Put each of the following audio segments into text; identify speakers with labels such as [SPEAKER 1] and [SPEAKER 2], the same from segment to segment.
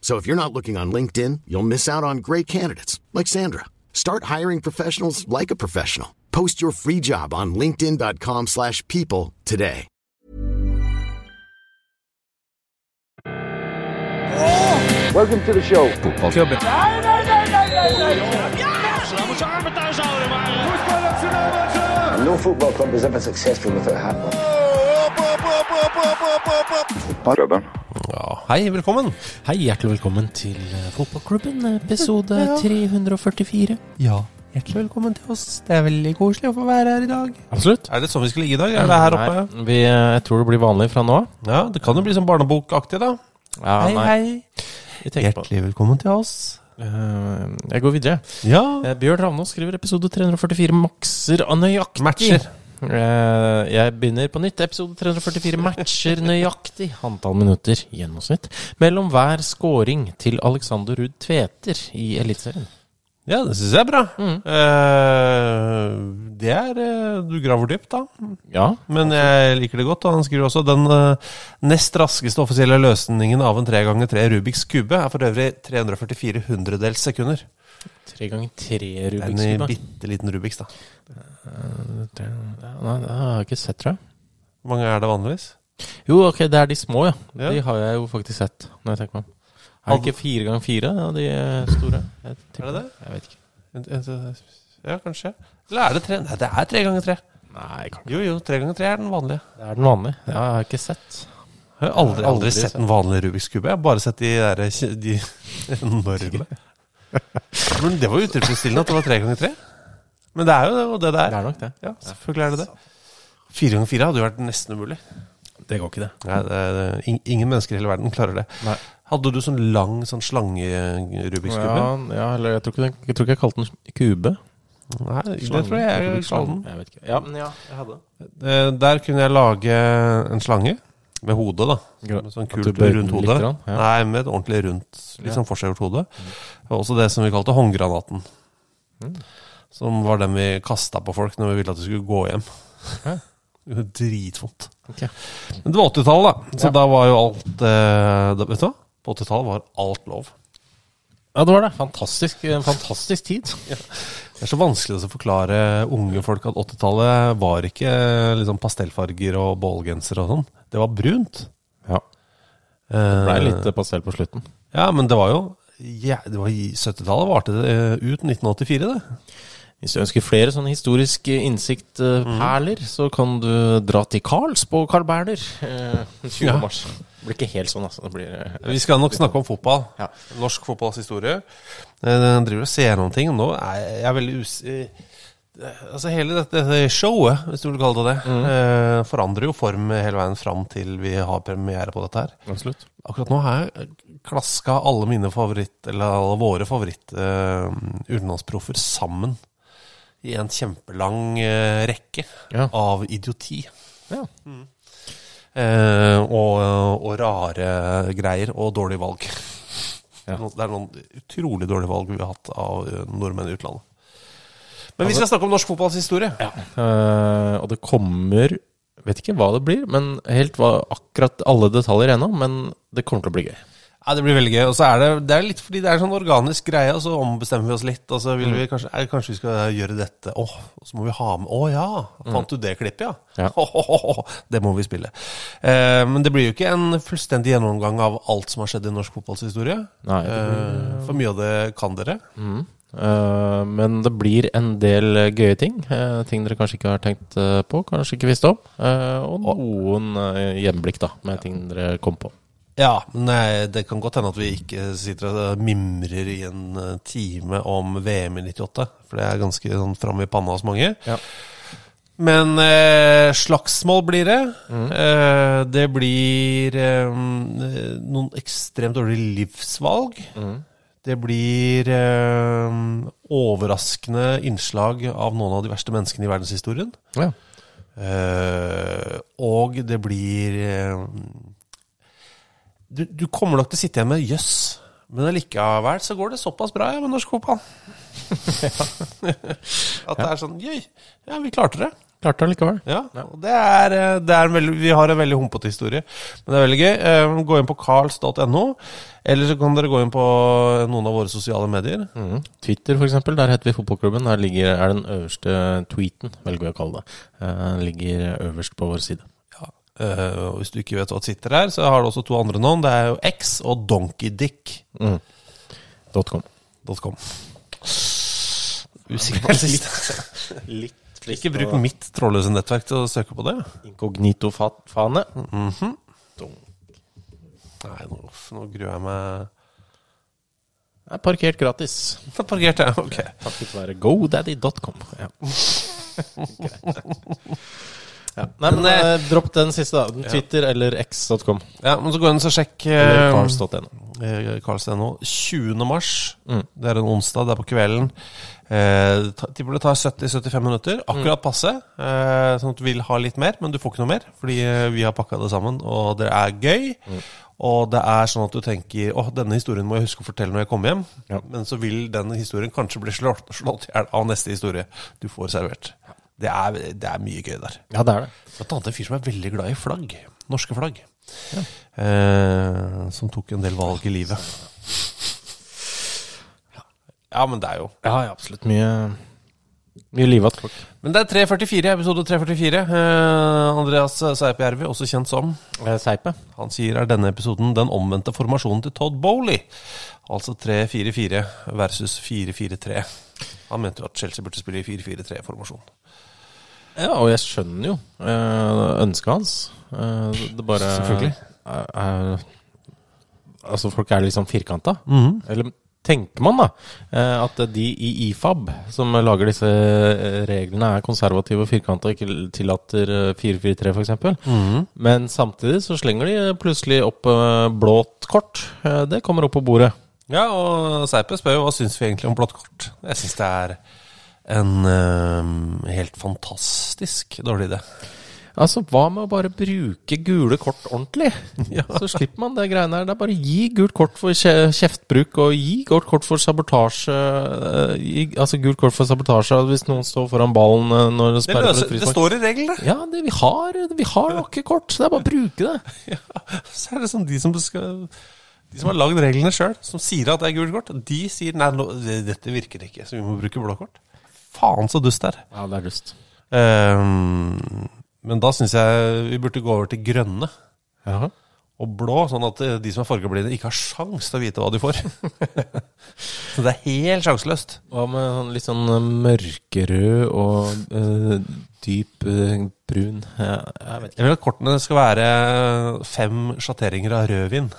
[SPEAKER 1] So if you're not looking on LinkedIn, you'll miss out on great candidates like Sandra. Start hiring professionals like a professional. Post your free job on linkedin.com/people slash people today.
[SPEAKER 2] Welcome to the show. No football club is ever successful without handball.
[SPEAKER 3] Hei, velkommen.
[SPEAKER 4] Hei, hjertelig velkommen til eh, Fotballklubben, episode 344.
[SPEAKER 3] Ja, hjertelig velkommen til oss. Det er veldig koselig å få være her i dag.
[SPEAKER 4] Absolutt.
[SPEAKER 3] Er det sånn vi skulle ligge i dag? Er det her oppe?
[SPEAKER 4] Nei, vi, eh, jeg tror det blir vanlig fra nå av.
[SPEAKER 3] Ja, det kan jo bli sånn barnebokaktig, da.
[SPEAKER 4] Ja,
[SPEAKER 3] hei,
[SPEAKER 4] nei,
[SPEAKER 3] hei.
[SPEAKER 4] Vi tenker på det.
[SPEAKER 3] Hjertelig velkommen til oss.
[SPEAKER 4] Eh, jeg går videre.
[SPEAKER 3] Ja.
[SPEAKER 4] Eh, Bjørn Ravnås skriver episode 344 makser av nøyaktig.
[SPEAKER 3] Matcher.
[SPEAKER 4] Eh, jeg begynner på nytt. Episode 344 matcher nøyaktig antall minutter i gjennomsnitt mellom hver scoring til Alexander Ruud Tveter i Eliteserien. Mm.
[SPEAKER 3] Ja, det syns jeg er bra. Eh, det er eh, Du graver dypt, da.
[SPEAKER 4] Ja,
[SPEAKER 3] Men jeg liker det godt. Og han skriver også den eh, nest raskeste offisielle løsningen av en tre ganger tre Rubiks kube er for øvrig 344 hundredels sekunder.
[SPEAKER 4] tre ganger tre
[SPEAKER 3] Det er
[SPEAKER 4] Rubiks
[SPEAKER 3] En
[SPEAKER 4] kube.
[SPEAKER 3] bitte liten Rubiks, da.
[SPEAKER 4] Tre- ja, Nei, det har jeg ikke sett, tror jeg.
[SPEAKER 3] Hvor mange er det vanligvis?
[SPEAKER 4] Jo, ok, det er de små, ja.
[SPEAKER 3] Ja.
[SPEAKER 4] De har jeg jo faktisk sett. Når jeg tenker meg om. Er det ikke fire ganger fire, ja, de eh, store? Jeg tipper-
[SPEAKER 3] Er det det?
[SPEAKER 4] Jeg vet ikke.
[SPEAKER 3] Ja, kanskje. Eller er det tre? Nei, det er tre ganger tre.
[SPEAKER 4] Nei, jeg kan ikke.
[SPEAKER 3] Jo, jo, tre ganger tre er den vanlige.
[SPEAKER 4] Det er den vanlige. Ja, jeg har ikke sett.
[SPEAKER 3] Jeg har aldri,
[SPEAKER 4] Jeg har aldri
[SPEAKER 3] aldri sett en vanlig Rubiks kube. Jeg har bare sett de der kje- de enorme. Men det var jo utilfredsstillende at det var tre ganger tre. Men det er jo det, og det det
[SPEAKER 4] Det
[SPEAKER 3] er.
[SPEAKER 4] er nok det.
[SPEAKER 3] Ja, selvfølgelig er det det. Fire ganger fire hadde jo vært nesten umulig.
[SPEAKER 4] Det går ikke, det.
[SPEAKER 3] Nei, det, det, ing- ingen mennesker i hele verden klarer det.
[SPEAKER 4] Nei.
[SPEAKER 3] Hadde du sånn lang sånn slange-Rubiks
[SPEAKER 4] Ja,
[SPEAKER 3] kube?
[SPEAKER 4] ja, eller jeg tror, ikke, den- jeg tror ikke jeg kalte den kube.
[SPEAKER 3] Nei, det
[SPEAKER 4] Slangen.
[SPEAKER 3] tror jeg jeg
[SPEAKER 4] Rubiks
[SPEAKER 3] kaller
[SPEAKER 4] slangen.
[SPEAKER 3] den.
[SPEAKER 4] Jeg vet ikke. Ja, men ja, jeg hadde
[SPEAKER 3] Eh, Der kunne jeg lage en slange med hodet, da.
[SPEAKER 4] Gra-
[SPEAKER 3] Med sånn
[SPEAKER 4] at du
[SPEAKER 3] kult
[SPEAKER 4] bøyer den
[SPEAKER 3] rundt
[SPEAKER 4] litt
[SPEAKER 3] hodet.
[SPEAKER 4] grann, ja. Mm.
[SPEAKER 3] Nei, med et ordentlig rundt, litt sånn forseggjort hode. Og Også det som vi kalte håndgranaten. Som var den vi kasta på folk når vi ville at de skulle gå hjem.
[SPEAKER 4] Hæ?
[SPEAKER 3] Det gjorde dritvondt.
[SPEAKER 4] Ok.
[SPEAKER 3] Men det var 80-tallet, da. Så
[SPEAKER 4] Ja.
[SPEAKER 3] da var jo alt eh, da, Vet du hva? På 80-tallet var alt lov.
[SPEAKER 4] Ja, det var det. Fantastisk, en fantastisk tid.
[SPEAKER 3] Det er så vanskelig å forklare unge folk at 80-tallet var ikke eh, liksom pastellfarger og bålgensere og sånn. Det var brunt.
[SPEAKER 4] Ja. Det ble litt eh, pastell på slutten.
[SPEAKER 3] Ja, men det var jo ja, det var i 70-tallet varte det eh, ut 1984, det.
[SPEAKER 4] Hvis du ønsker flere sånne historisk innsikt-perler, så kan du dra til Carls på Carl Berner. eh, 20.
[SPEAKER 3] Ja.
[SPEAKER 4] mars. Det blir ikke helt sånn, altså. Det blir eh,
[SPEAKER 3] Vi skal nok snakke om fotball.
[SPEAKER 4] Ja.
[SPEAKER 3] Norsk fotballs historie. Eh, Den driver og ser gjennom ting. og Nå er jeg- jeg er veldig us... eh, Altså Hele dette dette showet, hvis du vil kalle det det,
[SPEAKER 4] Mm.
[SPEAKER 3] eh, forandrer jo form hele veien fram til vi har premiere på dette her.
[SPEAKER 4] Absolutt.
[SPEAKER 3] Akkurat nå har jeg klaska alle mine favoritt, eller alle våre favoritt eh, utenlandsproffer sammen i en kjempelang eh, rekke
[SPEAKER 4] Ja.
[SPEAKER 3] av idioti.
[SPEAKER 4] Ja.
[SPEAKER 3] Eh, og, og rare greier, og dårlige valg.
[SPEAKER 4] Ja.
[SPEAKER 3] Det er noen utrolig dårlige valg vi har hatt av eh, nordmenn i utlandet. Men vi skal snakke om norsk fotballs historie.
[SPEAKER 4] Eh, og det kommer Vet ikke hva det blir, men helt hva, akkurat alle detaljer ennå. Men det kommer til å bli gøy.
[SPEAKER 3] Ja, det blir veldig gøy. Og så er det, det er litt fordi det er sånn organisk greie, og så ombestemmer vi oss litt. Og så vil vi kanskje, eh, kanskje vi skal gjøre dette. Åh, og så må vi ha med Å ja, fant du det klippet, Mm. ja?
[SPEAKER 4] Ja.
[SPEAKER 3] Ho, ho, ho, ho. Det må vi spille. Eh, men det blir jo ikke en fullstendig gjennomgang av alt som har skjedd i norsk fotballshistorie.
[SPEAKER 4] Nei, det
[SPEAKER 3] eh, for mye av det kan dere.
[SPEAKER 4] Eh, men det blir en del eh, gøye ting. eh, ting dere kanskje ikke har tenkt eh, på, kanskje ikke visste om. eh, og noen eh, gjenblikk da, med ting dere kom på.
[SPEAKER 3] Ja, men eh, det kan godt hende at vi ikke sitter og eh, mimrer i en eh, time om VM i 98. For det er ganske sånn framme i panna hos mange.
[SPEAKER 4] Ja.
[SPEAKER 3] Men eh, slagsmål blir det. Eh, det blir eh, noen ekstremt dårlige livsvalg. Det blir eh, overraskende innslag av noen av de verste menneskene i verdenshistorien.
[SPEAKER 4] Ja.
[SPEAKER 3] Eh, og det blir eh, du, du kommer nok til å sitte igjen med 'jøss', men allikevel så går det såpass bra ja, med norsk fotball. At det er sånn 'jøy, ja, vi klarte det'.
[SPEAKER 4] Klarte det likevel.
[SPEAKER 3] Ja, og det er, eh, det er en veldig, Vi har en veldig humpete historie, men det er veldig gøy. Eh, Gå inn på carls.no, eller så kan dere gå inn på noen av våre sosiale medier.
[SPEAKER 4] Mm. Twitter, for eksempel, der heter vi Fotballklubben. Der ligger, er den øverste tweeten, velger vi å kalle det. eh, ligger øverst på vår side.
[SPEAKER 3] Ja. eh, og hvis du ikke vet hva Twitter er, så har det også to andre navn. Det er jo X og Donkeydick.
[SPEAKER 4] .com.
[SPEAKER 3] .com. Usikker på litt, Ikke bruk mitt trådløse nettverk til å søke på det.
[SPEAKER 4] Inkognito-fane. Mm.
[SPEAKER 3] Nei, nå, uff, nå gruer jeg meg.
[SPEAKER 4] Er parkert gratis.
[SPEAKER 3] Da parkerte jeg, ok.
[SPEAKER 4] Takket være godaddy.com. Ja. Greit. Ja. Nei, men eh, Dropp den siste, da. Twitter eller x.com.
[SPEAKER 3] Ja, men så gå inn og så sjekk eh,
[SPEAKER 4] Eller cars.no.
[SPEAKER 3] eh, Karls.no. 20. mars, det er en onsdag, det er på kvelden. Eh, ta- Tipper det tar 70-75 minutter. Akkurat passe. Eh, sånn at du vil ha litt mer, men du får ikke noe mer. Fordi eh, vi har pakka det sammen, og det er gøy. Og det er sånn at du tenker åh, denne historien må jeg huske å fortelle når jeg kommer hjem.
[SPEAKER 4] Ja.
[SPEAKER 3] Men så vil den historien kanskje bli slått, slått i hjel av neste historie du får servert. Det er, det er mye gøy der.
[SPEAKER 4] Ja, det er det.
[SPEAKER 3] Blant annet en fyr som er veldig glad i flagg. Norske flagg. Eh, som tok en del valg i livet. Ja, men det er jo
[SPEAKER 4] Ja, ja absolutt mye Mye liv igjen, folk.
[SPEAKER 3] Men det er 344, episode 344. Eh, Andreas Seipjärvi, også kjent som
[SPEAKER 4] Eh, Seipe.
[SPEAKER 3] Han sier er denne episoden den omvendte formasjonen til Todd Bowley. Altså 3-4-4 versus 4-4-3. Han mente jo at Chelsea burde spille i 4-4-3-formasjon.
[SPEAKER 4] Ja, og jeg skjønner jo eh, ønsket hans. Eh, det bare
[SPEAKER 3] Selvfølgelig.
[SPEAKER 4] Er, er, altså, folk er liksom firkanta. Eller tenker man, da, eh, at de i IFAB, som lager disse eh, reglene, er konservative og firkanta og ikke l- tillater eh, 4-4-3, f.eks. eksempel Men samtidig så slenger de plutselig opp eh, blått kort. Eh, det kommer opp på bordet.
[SPEAKER 3] Ja, og Seipe spør jo hva syns vi egentlig om blått kort. Jeg syns det er en eh, helt fantastisk dårlig idé.
[SPEAKER 4] Altså, hva med å bare bruke gule kort ordentlig? Så slipper man det greiene her. Det er bare å gi gult kort for kje- kjeftbruk, og gi gult kort for sabotasje eh, gi, Altså gult kort for sabotasje altså hvis noen står foran ballen eh, når det
[SPEAKER 3] Det,
[SPEAKER 4] sperrer for et
[SPEAKER 3] løser, det
[SPEAKER 4] frispark.
[SPEAKER 3] står i reglene!
[SPEAKER 4] Ja, det, vi har Vi har nok kort, så det er bare å bruke det.
[SPEAKER 3] Ja, så er det sånn de som skal De som har lagd reglene sjøl, som sier at det er gult kort, de sier nei, nå- dette virker ikke, så vi må bruke blå kort. Faen så dust det er.
[SPEAKER 4] Ja, det er lyst.
[SPEAKER 3] Ehm, men da syns jeg vi burde gå over til grønne
[SPEAKER 4] Ja.
[SPEAKER 3] og blå, sånn at eh, de som er fargeblinde, ikke har sjans til å vite hva de får. så det er helt sjanseløst.
[SPEAKER 4] Hva med sånn litt sånn eh, mørkerød og eh, dyp eh, brun ja, Jeg vet ikke.
[SPEAKER 3] Jeg vil at kortene skal være fem sjatteringer av rødvin.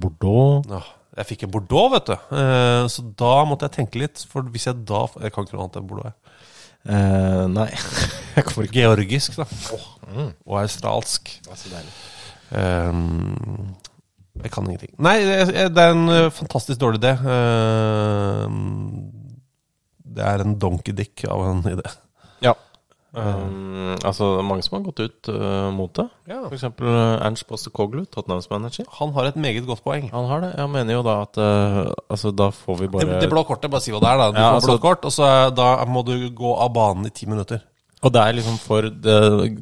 [SPEAKER 4] Bordeaux
[SPEAKER 3] Ja, jeg fikk en bordeaux, vet du. Eh, Så da måtte jeg tenke litt. For hvis jeg da Jeg kan ikke noe annet enn bordeaux. jeg.
[SPEAKER 4] Eh, Nei, jeg kommer ikke
[SPEAKER 3] Georgisk, da.
[SPEAKER 4] mm.
[SPEAKER 3] Og australsk. Ehm, jeg kan ingenting. Nei, det er- det er en eh, fantastisk dårlig idé. Ehm, Det er en donkeydick av en idé.
[SPEAKER 4] Ja. Um, altså, det er mange som har gått ut øh, mot det.
[SPEAKER 3] Ja.
[SPEAKER 4] For eksempel øh, Ernst Postekoglu, Tottenhams manager.
[SPEAKER 3] Han har et meget godt poeng.
[SPEAKER 4] Han har det. Jeg mener jo da at øh, Altså, da får vi bare
[SPEAKER 3] Det, det blå kortet, bare si hva det er, da. Du
[SPEAKER 4] Ja,
[SPEAKER 3] får
[SPEAKER 4] altså-
[SPEAKER 3] blått kort, og så da må du gå av banen i ti minutter.
[SPEAKER 4] Og det er liksom for det,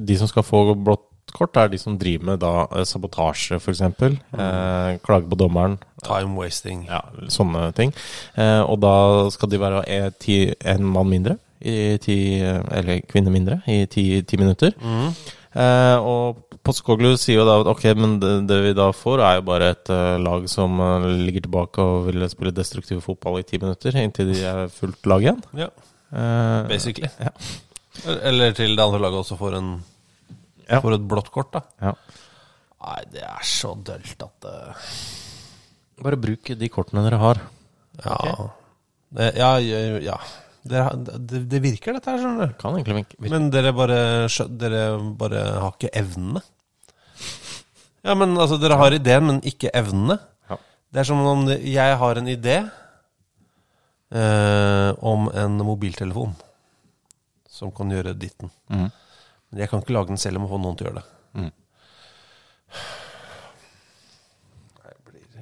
[SPEAKER 4] de som skal få blått kort, det er de som driver med da øh, sabotasje, f.eks.
[SPEAKER 3] Mm.
[SPEAKER 4] Eh, klage på dommeren.
[SPEAKER 3] Time wasting.
[SPEAKER 4] Ja, sånne ting. Eh, og da skal de være eh, ti, en mann mindre, Mhm. i ti, eller kvinne mindre, i ti, ti minutter. Eh, og Potsgoglu sier jo da at ok, men det, det vi da får, er jo bare et eh, lag som eh, ligger tilbake og vil spille destruktiv fotball i ti minutter, inntil de er fullt lag igjen.
[SPEAKER 3] Ja,
[SPEAKER 4] Eh,
[SPEAKER 3] basically. Eller til det andre laget også får, en,
[SPEAKER 4] Ja.
[SPEAKER 3] får et blått kort, da.
[SPEAKER 4] ja.
[SPEAKER 3] Nei, det er så dølt at eh, det
[SPEAKER 4] Bare bruk de kortene dere har.
[SPEAKER 3] Ja. Det, ja, ja, ja. Dere har- Det, det virker, dette her, skjønner du.
[SPEAKER 4] Kan egentlig virke. virke-
[SPEAKER 3] Men dere bare, skjø- dere bare har ikke evnene. Ja, men altså, dere har ideen, men ikke evnene.
[SPEAKER 4] Ja.
[SPEAKER 3] Det er som om det- jeg har en idé eh, om en mobiltelefon som kan gjøre ditten. Men jeg kan ikke lage den selv om jeg får noen til å gjøre det.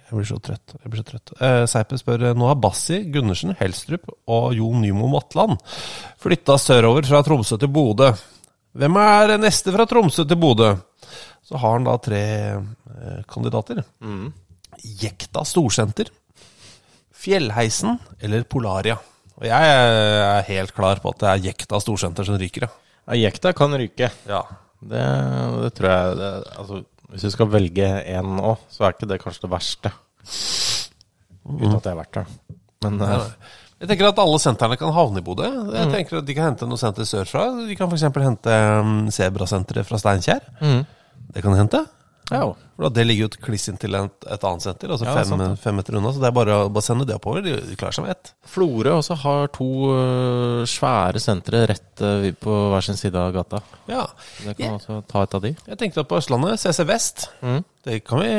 [SPEAKER 3] Jeg blir så trøtt. jeg blir så trøtt. Eh, Seipe spør nå har Bassi, Gundersen, Helstrup og Jon Nymo Matland flytta sørover fra Tromsø til Bodø. Hvem er neste fra Tromsø til Bodø? Så har han da tre eh, kandidater. Jekta Storsenter, Fjellheisen eller Polaria. Og jeg er helt klar på at det er Jekta Storsenter som ryker, ja.
[SPEAKER 4] Ja, Jekta kan ryke.
[SPEAKER 3] ja.
[SPEAKER 4] Det, det tror jeg det, altså, Hvis du skal velge én nå, så er ikke det kanskje det verste.
[SPEAKER 3] Mm.
[SPEAKER 4] Uten at det er verdt det. Men eh,
[SPEAKER 3] Jeg tenker at alle sentrene kan havne i Bodø.
[SPEAKER 4] Mm.
[SPEAKER 3] Jeg tenker at De kan hente noe senter sørfra. De kan f.eks. hente mm, Sebrasenteret fra Steinkjer.
[SPEAKER 4] Mm.
[SPEAKER 3] Det kan de hente.
[SPEAKER 4] ja. jo.
[SPEAKER 3] For da, Det ligger jo et kliss inntil et, et annet senter, altså
[SPEAKER 4] Ja, det er
[SPEAKER 3] fem,
[SPEAKER 4] sant,
[SPEAKER 3] fem meter unna. Så det er bare å bare sende det oppover. De, de klarer seg med ett.
[SPEAKER 4] Florø også har to eh, svære sentre rett eh, på hver sin side av gata.
[SPEAKER 3] Ja.
[SPEAKER 4] Det kan
[SPEAKER 3] Jeg,
[SPEAKER 4] også ta et av de.
[SPEAKER 3] jeg tenkte at på Østlandet, CC Vest,
[SPEAKER 4] Mm.
[SPEAKER 3] det, kan vi,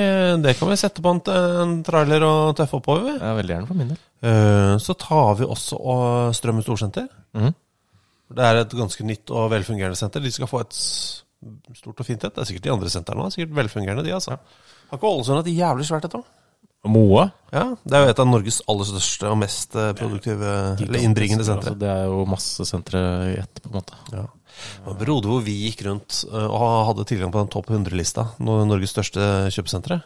[SPEAKER 3] det kan vi sette på en, en trailer og tøffe oppover.
[SPEAKER 4] Ja, veldig gjerne for min del.
[SPEAKER 3] Eh, Så tar vi også og Strømmen storsenter.
[SPEAKER 4] Mhm.
[SPEAKER 3] Det er et ganske nytt og velfungerende senter. De skal få et s- stort og fint et. Det er sikkert de andre sentrene òg. Sikkert velfungerende, de, altså. Har ikke Ålesund hatt jævlig svært et òg?
[SPEAKER 4] Moa.
[SPEAKER 3] Ja, det er jo et av Norges aller største og mest eh, produktive, eller innbringende sentre.
[SPEAKER 4] Altså, det er jo masse sentre i ett, på en måte.
[SPEAKER 3] Ja. Det var en periode hvor vi gikk rundt eh, og hadde tilgang på den topp 100-lista. no- Norges største kjøpesenter.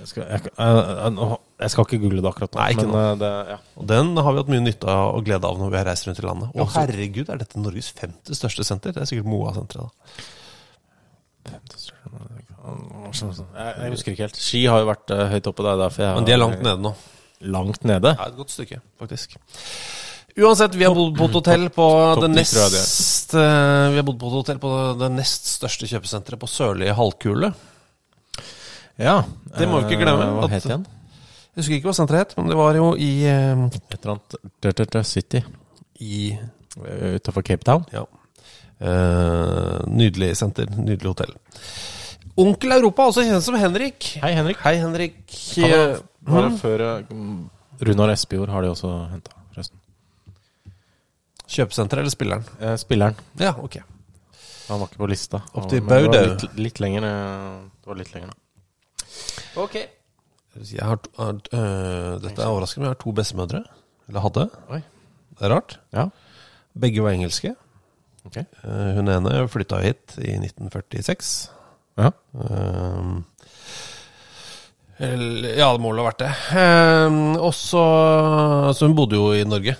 [SPEAKER 4] Jeg skal, jeg, eh, eh, nå- jeg skal ikke google det akkurat nå.
[SPEAKER 3] Nei, ikke
[SPEAKER 4] men,
[SPEAKER 3] nå.
[SPEAKER 4] eh, Det, ja.
[SPEAKER 3] Og den har vi hatt mye nytte av og glede av når vi har reist rundt i landet. Å herregud, er dette Norges femte største senter? Det er sikkert Moa-senteret, da.
[SPEAKER 4] jeg, jeg husker ikke helt. Ski har jo vært eh, høyt oppe. Det er derfor jeg
[SPEAKER 3] Men de er langt nede nå.
[SPEAKER 4] Langt nede.
[SPEAKER 3] Ja, et godt stykke, faktisk. Uansett, vi har bodd på et hotell på
[SPEAKER 4] Mm. topp
[SPEAKER 3] det
[SPEAKER 4] ni, tror jeg det er.
[SPEAKER 3] nest eh, Vi har bodd på et hotell på det nest største kjøpesenteret på sørlige halvkule.
[SPEAKER 4] Ja.
[SPEAKER 3] Det må vi ikke glemme,
[SPEAKER 4] Eh, Hva
[SPEAKER 3] at-
[SPEAKER 4] het det igjen?
[SPEAKER 3] Jeg husker ikke hva senteret het, men det var jo i eh,
[SPEAKER 4] Et eller annet Dirt Dirt City
[SPEAKER 3] I
[SPEAKER 4] utafor Cape Town.
[SPEAKER 3] ja. Eh, nydelig senter, nydelig hotell. Onkel Europa, også kjent som Henrik.
[SPEAKER 4] Hei, Henrik.
[SPEAKER 3] Hei, Henrik.
[SPEAKER 4] Han
[SPEAKER 3] Eh,
[SPEAKER 4] er- var det før eh, mm, Runar Espejord har de også henta, forresten.
[SPEAKER 3] Kjøpesenteret eller spilleren?
[SPEAKER 4] Eh, spilleren.
[SPEAKER 3] Ja, ok.
[SPEAKER 4] Han var ikke på lista.
[SPEAKER 3] Opp til
[SPEAKER 4] Han var- men det var
[SPEAKER 3] Baudau.
[SPEAKER 4] Litt, litt lenger ned. Det var litt lenger ned.
[SPEAKER 3] Jeg har, to- har øh, dette er overraskende, men jeg har to bestemødre. Eller hadde.
[SPEAKER 4] Oi.
[SPEAKER 3] Det er rart.
[SPEAKER 4] Ja.
[SPEAKER 3] Begge var engelske.
[SPEAKER 4] Ok.
[SPEAKER 3] Eh, Hun ene flytta hit i 1946.
[SPEAKER 4] Ja.
[SPEAKER 3] Ehm, eller- ja, det må vel ha vært det. Ehm, og så Så hun bodde jo i Norge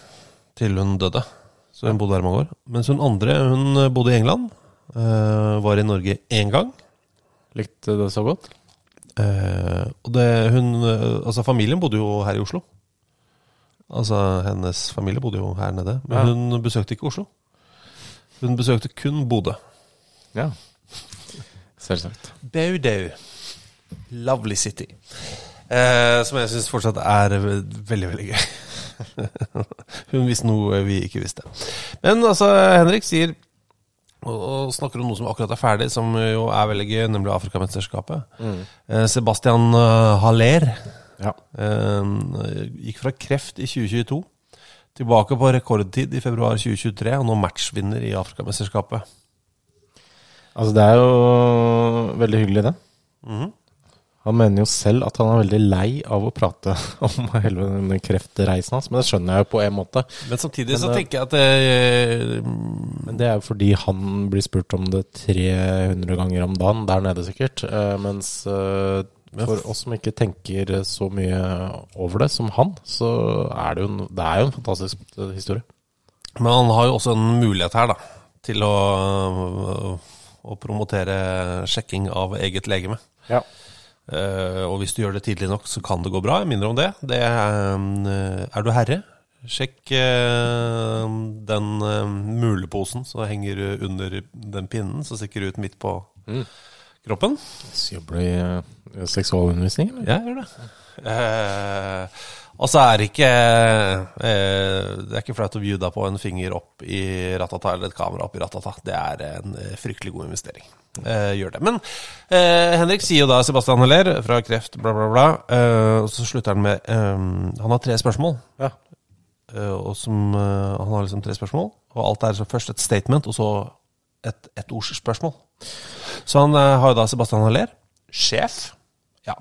[SPEAKER 3] til hun døde. Så hun bodde her i mange år. Mens hun andre hun bodde i England. eh, var i Norge én gang.
[SPEAKER 4] Likte det så godt?
[SPEAKER 3] Eh, og det, hun, eh, altså familien bodde jo her i Oslo. Altså hennes familie bodde jo her nede, men
[SPEAKER 4] Ja.
[SPEAKER 3] hun besøkte ikke Oslo. Hun besøkte kun Bodø.
[SPEAKER 4] Ja. Selvsagt.
[SPEAKER 3] Baudau. Lovely city. Eh, som jeg syns fortsatt er ve- veldig, veldig gøy. Hun visste noe vi ikke visste. Men altså, Henrik sier og, og snakker om noe som akkurat er ferdig, som jo er veldig gøy, nemlig Afrikamesterskapet. Eh, Sebastian eh, Haller
[SPEAKER 4] Ja.
[SPEAKER 3] eh, gikk fra kreft i 2022, tilbake på rekordtid i februar 2023, og nå matchvinner i Afrikamesterskapet.
[SPEAKER 4] Altså, det er jo veldig hyggelig, det. Mhm. Han mener jo selv at han er veldig lei av å prate om hele den kreftreisen hans, men det skjønner jeg jo på en måte.
[SPEAKER 3] Men samtidig
[SPEAKER 4] Men,
[SPEAKER 3] så
[SPEAKER 4] eh,
[SPEAKER 3] tenker jeg at eh,
[SPEAKER 4] Men det er jo fordi han blir spurt om det 300 ganger om dagen der nede, sikkert. Eh, mens eh, for oss som ikke tenker så mye over det som han, så er det jo en, det er jo en fantastisk eh, historie.
[SPEAKER 3] Men han har jo også en mulighet her, da. Til å øh, å promotere sjekking av eget legeme.
[SPEAKER 4] Ja.
[SPEAKER 3] Eh, og hvis du gjør det tidlig nok, så kan det gå bra. Mindre om det. det er, eh, er du herre, sjekk eh, den eh, muleposen som henger under den pinnen som stikker ut midt på kroppen.
[SPEAKER 4] Så jobber du i eh, seksualundervisning, eller?
[SPEAKER 3] Ja, jeg gjør det. Eh, og så er det ikke eh, Det er ikke flaut å bjuda på en finger opp i ratata eller et kamera opp i ratata. Det er en eh, fryktelig god investering. Eh, gjør det. Men eh, Henrik sier jo da Sebastian Heller fra Kreft, bla, bla, bla. Eh, og så slutter han med eh, Han har tre spørsmål.
[SPEAKER 4] Ja.
[SPEAKER 3] Eh, og som, eh, han har liksom tre spørsmål, og alt er så først et statement, og så et, et ords spørsmål. Så han eh, har jo da Sebastian Heller. Sjef. Ja.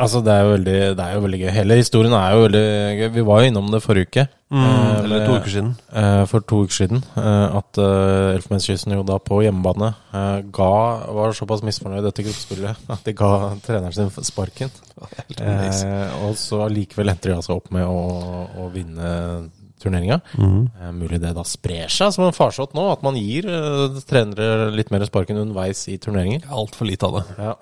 [SPEAKER 4] Altså, det er, jo veldig, det er jo veldig gøy. Hele historien er jo veldig gøy. Vi var jo innom det forrige uke. eh,
[SPEAKER 3] Mm. Eller to uker siden.
[SPEAKER 4] eh, for to uker siden. eh, at uh, Elfenbenskysten jo da på hjemmebane eh, ga var såpass misfornøyd dette gruppespillet at de ga treneren sin sparken. Eh, og så allikevel endte de altså opp med å, å vinne turneringa.
[SPEAKER 3] Mm.
[SPEAKER 4] Eh, mulig det da sprer seg som en farsott nå, at man gir eh, trenere litt mer sparken underveis i turneringer.
[SPEAKER 3] Altfor lite av det.
[SPEAKER 4] Ja.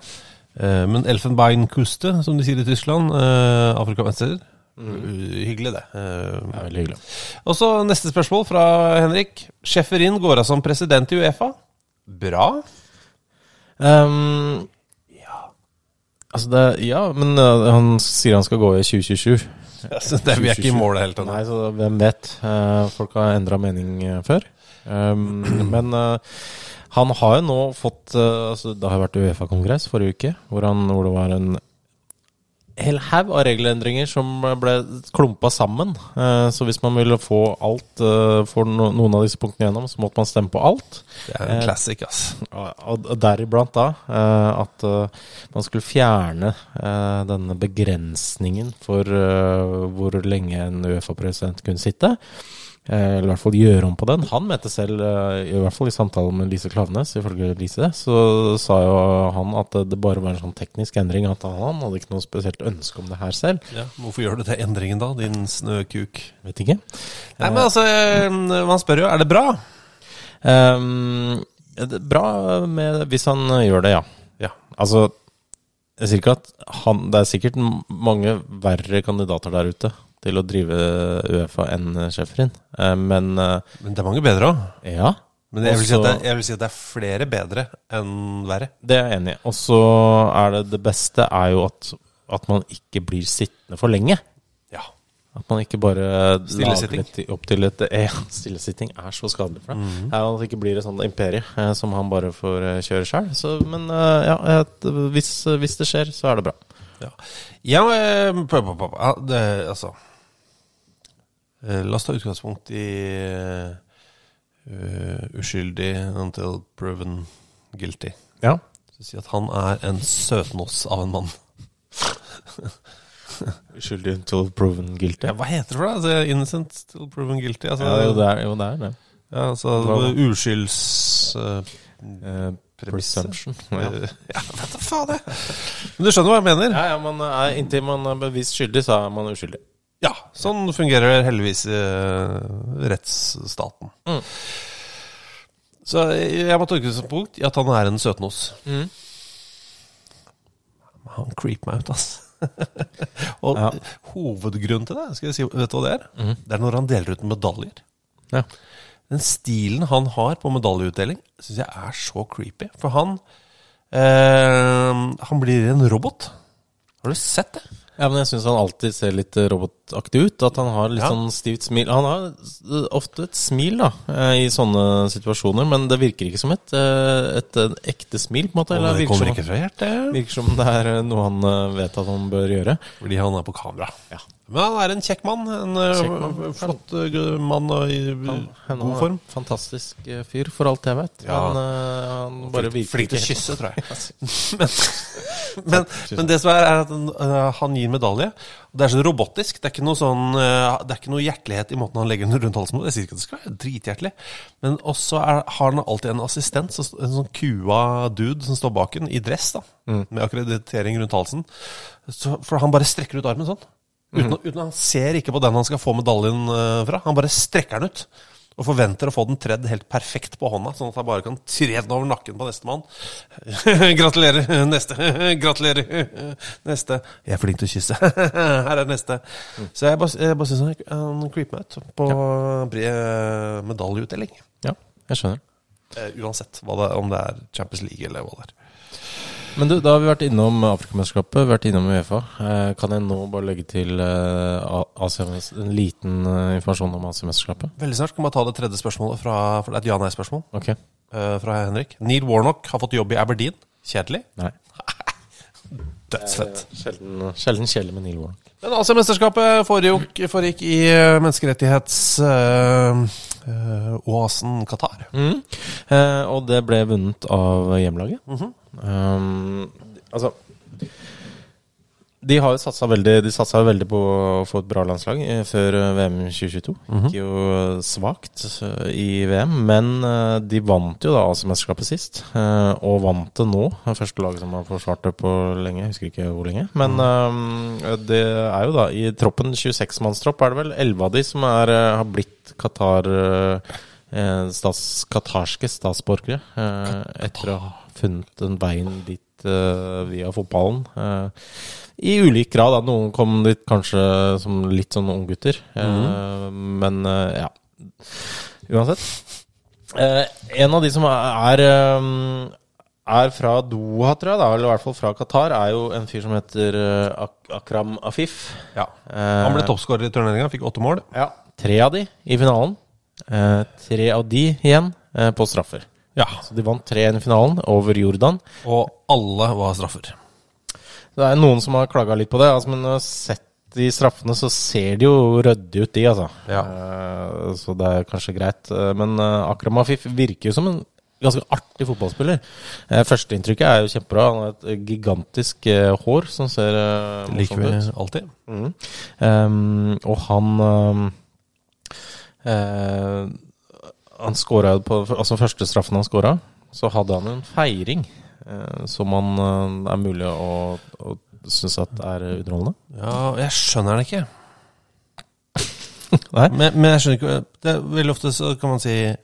[SPEAKER 3] Eh, Men Elfenbeinkuste, som de sier i Tyskland, eh, Afrikamester Eh, Hyggelig, det. Eh,
[SPEAKER 4] Det er Mm. veldig hyggelig.
[SPEAKER 3] Og så neste spørsmål fra Henrik. Schæferin går av som president i Uefa. Bra.
[SPEAKER 4] Ehm, Altså det, ja, men eh, han sier han skal gå i 2027.
[SPEAKER 3] Så det, vi er ikke i mål helt
[SPEAKER 4] Nei,
[SPEAKER 3] ennå.
[SPEAKER 4] så hvem vet. Eh, folk har endra mening eh, før. Um, men eh, han har jo nå fått eh, altså, Det har jo vært Uefa-kongress forrige uke, hvor, han, hvor det var en hel haug av regelendringer som ble klumpa sammen. Eh, så hvis man ville få alt, eh, få no, noen av disse punktene gjennom, så måtte man stemme på alt.
[SPEAKER 3] Det er en
[SPEAKER 4] Eh,
[SPEAKER 3] classic, ass.
[SPEAKER 4] Og og deriblant da eh, at eh, man skulle fjerne eh, denne begrensningen for eh, hvor lenge en Uefa-president kunne sitte. Eh, Eller i hvert fall gjøre om på den. Han mente selv, eh, i hvert fall i samtale med Lise Klaveness, ifølge Lise, så sa jo han at det bare var en sånn teknisk endring. At han hadde ikke noe spesielt ønske om det her selv.
[SPEAKER 3] Ja, hvorfor gjør du det endringen da, din snøkuk?
[SPEAKER 4] Vet ikke.
[SPEAKER 3] Nei, men altså, eh, man spør jo er det bra.
[SPEAKER 4] Ehm, det er bra med, hvis han eh, gjør det, ja.
[SPEAKER 3] Ja.
[SPEAKER 4] Altså, jeg sier ikke at han, det er sikkert m- mange verre kandidater der ute til å drive Uefa enn Schæferin, Eh, men eh,
[SPEAKER 3] Men det er mange bedre òg.
[SPEAKER 4] ja.
[SPEAKER 3] Men jeg vil, si at
[SPEAKER 4] Også-
[SPEAKER 3] det, jeg vil si at det er flere bedre enn verre.
[SPEAKER 4] Det er jeg enig i. Og så er det det beste er jo at, at man ikke blir sittende for lenge.
[SPEAKER 3] Ja.
[SPEAKER 4] At man ikke bare lager
[SPEAKER 3] Stillesitting.
[SPEAKER 4] litt opp til et eh, Stillesitting er så skadelig for deg.
[SPEAKER 3] Mhm.
[SPEAKER 4] Det er At det ikke blir et sånt imperie eh, som han bare får eh, kjøre sjøl. Men eh, ja, et, hvis, hvis det skjer, så er det bra.
[SPEAKER 3] Ja, ja eh, pa- pa- pa- pa- det, altså Eh, La oss ta utgangspunkt i eh, uskyldig until proven guilty.
[SPEAKER 4] Ja.
[SPEAKER 3] Så si at han er en søtnos av en mann.
[SPEAKER 4] Skyldig until proven guilty.
[SPEAKER 3] Ja, hva heter det for det? Altså, innocent till proven guilty? Altså,
[SPEAKER 4] Ja, jo, det er jo det. Er det.
[SPEAKER 3] ja, altså
[SPEAKER 4] Hva-
[SPEAKER 3] uskylds...
[SPEAKER 4] Eh, presumption.
[SPEAKER 3] ja.
[SPEAKER 4] Ja.
[SPEAKER 3] ja, vet da faen, jeg! Men du skjønner hva jeg mener?
[SPEAKER 4] ja, ja, men eh, inntil man er bevist skyldig, så er man uskyldig.
[SPEAKER 3] Ja, sånn fungerer heldigvis eh, rettsstaten.
[SPEAKER 4] Mm.
[SPEAKER 3] Så jeg jeg må ta utgangspunkt i at han er en søtnos. Han creeper meg ut, ass. Og
[SPEAKER 4] Ja. Mhm.
[SPEAKER 3] hovedgrunnen til det, skal jeg si, vet du hva det er? Det er når han deler ut medaljer.
[SPEAKER 4] Ja.
[SPEAKER 3] Den stilen han har på medaljeutdeling, syns jeg er så creepy. For han eh, Han blir en robot. Har du sett det?
[SPEAKER 4] Ja, men jeg syns han alltid ser litt eh, robotaktig ut. At han har litt
[SPEAKER 3] Ja.
[SPEAKER 4] sånn stivt smil. Han har eh, ofte et smil da, eh, i sånne situasjoner, men det virker ikke som et, eh, et, eh, ekte smil, på en måte.
[SPEAKER 3] Og
[SPEAKER 4] Eller
[SPEAKER 3] det
[SPEAKER 4] virker
[SPEAKER 3] kommer
[SPEAKER 4] som,
[SPEAKER 3] ikke fra hjertet.
[SPEAKER 4] virker som det er eh, noe han eh, vet at han bør gjøre.
[SPEAKER 3] Fordi han er på kamera.
[SPEAKER 4] Ja.
[SPEAKER 3] Men han er en kjekk mann. En eh,
[SPEAKER 4] Kjekk mann.
[SPEAKER 3] flott eh, mann og i
[SPEAKER 4] Han
[SPEAKER 3] Mm. god
[SPEAKER 4] er
[SPEAKER 3] form.
[SPEAKER 4] Fantastisk eh, fyr, for alt jeg vet.
[SPEAKER 3] Ja.
[SPEAKER 4] Men eh, han bare virker
[SPEAKER 3] Flink til å
[SPEAKER 4] ikke helt-
[SPEAKER 3] kysse, tror jeg. Men, men, men det som er, er at han, eh, han gir medalje. Og det er så robotisk. Det er ikke noe sånn eh, Det er ikke noe hjertelighet i måten han legger den rundt halsen på. Jeg sier ikke at det skal være drithjertelig, men også er, har han alltid en assistent, så, en sånn kua dude som står bak en, i dress, da
[SPEAKER 4] Mm.
[SPEAKER 3] med akkreditering rundt halsen. Så, for han bare strekker ut armen sånn. Uten, å- uten, han ser ikke på den han skal få medaljen eh, fra. Han bare strekker den ut. og forventer å få den tredd helt perfekt på hånda, sånn at jeg bare kan tre den over nakken på nestemann. Gratulerer, neste. Gratulerer, neste. Jeg er flink til å kysse. Her er neste. Så jeg bare, jeg bare syns han- han creeper meg ut på bred eh, medaljeutdeling.
[SPEAKER 4] Ja, jeg skjønner.
[SPEAKER 3] Eh, Uansett hva det, om det er Champions League eller hva det er.
[SPEAKER 4] Men du, da har vi vært innom Afrikamesterskapet, vært innom Uefa. Eh, Kan jeg nå bare legge til eh, A- Asia-mest- en liten eh, informasjon om Asiamesterskapet?
[SPEAKER 3] Veldig snart kan man ta det tredje spørsmålet, fra, for det er et ja-nei-spørsmål
[SPEAKER 4] Ok.
[SPEAKER 3] eh, fra Henrik. Neil Warnock har fått jobb i Aberdeen. Kjedelig.
[SPEAKER 4] Nei.
[SPEAKER 3] Dødsfett.
[SPEAKER 4] Sjelden, eh. sjelden kjedelig med Neil Warnock.
[SPEAKER 3] Eh, Men Asia-mesterskapet foregikk, foregikk i eh, menneskerettighets-oasen Qatar.
[SPEAKER 4] Mm. Eh, og det ble vunnet av hjemlaget. um, altså De har jo satsa veldig, de satsa veldig på å få et bra landslag eh, før eh, VM 2022. Gikk jo eh, svakt eh, i VM, men eh, de vant jo da Asiamesterskapet sist. eh, og vant det nå. Det Første laget som har forsvart det på lenge. Jeg husker ikke hvor lenge. Men eh, det er jo da i troppen 26-mannstropp er det vel 11 av de som er, eh, har blitt Qatar eh, eh, stats, katarske statsborgere eh, etter å ha funnet den veien dit eh, via fotballen. Eh, I ulik grad. Da. Noen kom dit kanskje som litt sånn unggutter. Eh, Men eh, ja. Uansett. Eh, en av de som er, er, um, er fra Doha, tror jeg, da, eller i hvert fall fra Qatar, er jo en fyr som heter eh, Ak Akram Afif.
[SPEAKER 3] Ja.
[SPEAKER 4] Eh,
[SPEAKER 3] Han ble toppskårer i turneringa, fikk åtte mål.
[SPEAKER 4] ja. Tre av de i finalen. Eh, tre av de igjen eh, på straffer.
[SPEAKER 3] Ja.
[SPEAKER 4] Så de vant 3-1 i finalen over Jordan.
[SPEAKER 3] Og alle var straffer.
[SPEAKER 4] Det er noen som har klaga litt på det, altså, men når jeg har sett de straffene, så ser de jo rødde ut, de, altså. Eh, så det er kanskje greit. Eh, Men eh, Akram Afif virker jo som en ganske artig fotballspiller. Eh, førsteinntrykket er jo kjempebra. Han har et gigantisk eh, hår som ser eh,
[SPEAKER 3] Liker
[SPEAKER 4] morsomt
[SPEAKER 3] vi
[SPEAKER 4] ut.
[SPEAKER 3] alltid.
[SPEAKER 4] Mm. Ehm, og han ehm, eh, Han skåra jo på Altså første straffen han skåra, så hadde han en feiring eh, som han eh, er mulig å, å synes at er underholdende.
[SPEAKER 3] Ja, jeg skjønner det ikke.
[SPEAKER 4] Nei.
[SPEAKER 3] Men, men jeg skjønner ikke det er Veldig ofte så kan man si eh,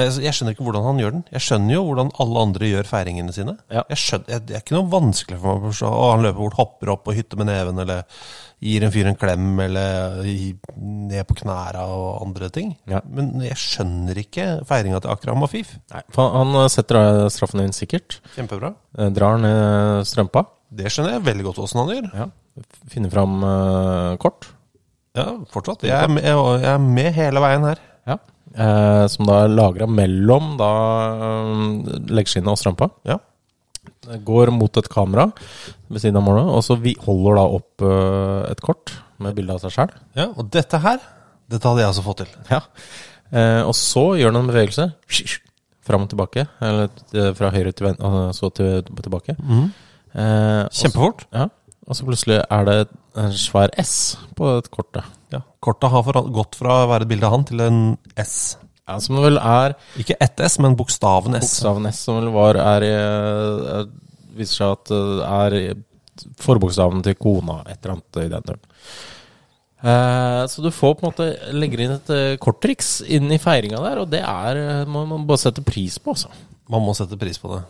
[SPEAKER 3] altså, Jeg skjønner ikke hvordan han gjør den. Jeg skjønner jo hvordan alle andre gjør feiringene sine.
[SPEAKER 4] Ja.
[SPEAKER 3] Jeg skjønner, jeg, det er ikke noe vanskelig for meg å forstå. Å, han løper bort, hopper opp og hytter med neven, eller gir en fyr en klem, eller i- ned på knæra og andre ting.
[SPEAKER 4] Ja.
[SPEAKER 3] Men jeg skjønner ikke feiringa til Akram Afif.
[SPEAKER 4] For han han setter da straffen inn sikkert.
[SPEAKER 3] Kjempebra.
[SPEAKER 4] eh, Drar ned strømpa.
[SPEAKER 3] Det skjønner jeg veldig godt åssen han gjør.
[SPEAKER 4] Finner fram eh, kort.
[SPEAKER 3] Ja, fortsatt. Jeg er, med, jeg er med hele veien her.
[SPEAKER 4] Ja. Eh, som da er lagra mellom da eh, leggskinnet og strømpa.
[SPEAKER 3] Ja.
[SPEAKER 4] går mot et kamera ved siden av målet, og så vi holder da opp eh, et kort med bilde av seg sjøl.
[SPEAKER 3] ja. Og dette her, dette hadde jeg altså fått til.
[SPEAKER 4] Ja. Eh, og så gjør han en bevegelse fram og tilbake, eller eh, fra høyre til venstre, og så til, tilbake. Eh, og så-
[SPEAKER 3] Mhm. Kjempefort.
[SPEAKER 4] Ja. Og så plutselig er det en svær S på et kortet.
[SPEAKER 3] Ja. Kortet har foran- gått fra å være et bilde av han til en S.
[SPEAKER 4] Ja, som vel er
[SPEAKER 3] Ikke ett S, men bokstaven S.
[SPEAKER 4] bokstaven S, som vel var er, i- er, viser seg at eh, er i- forbokstaven til kona, et eller annet i den duren. Eh, så du får på en måte legger inn et eh, korttriks inn i feiringa der, og det er eh, må man bare sette pris på, altså.
[SPEAKER 3] Man må sette pris på det.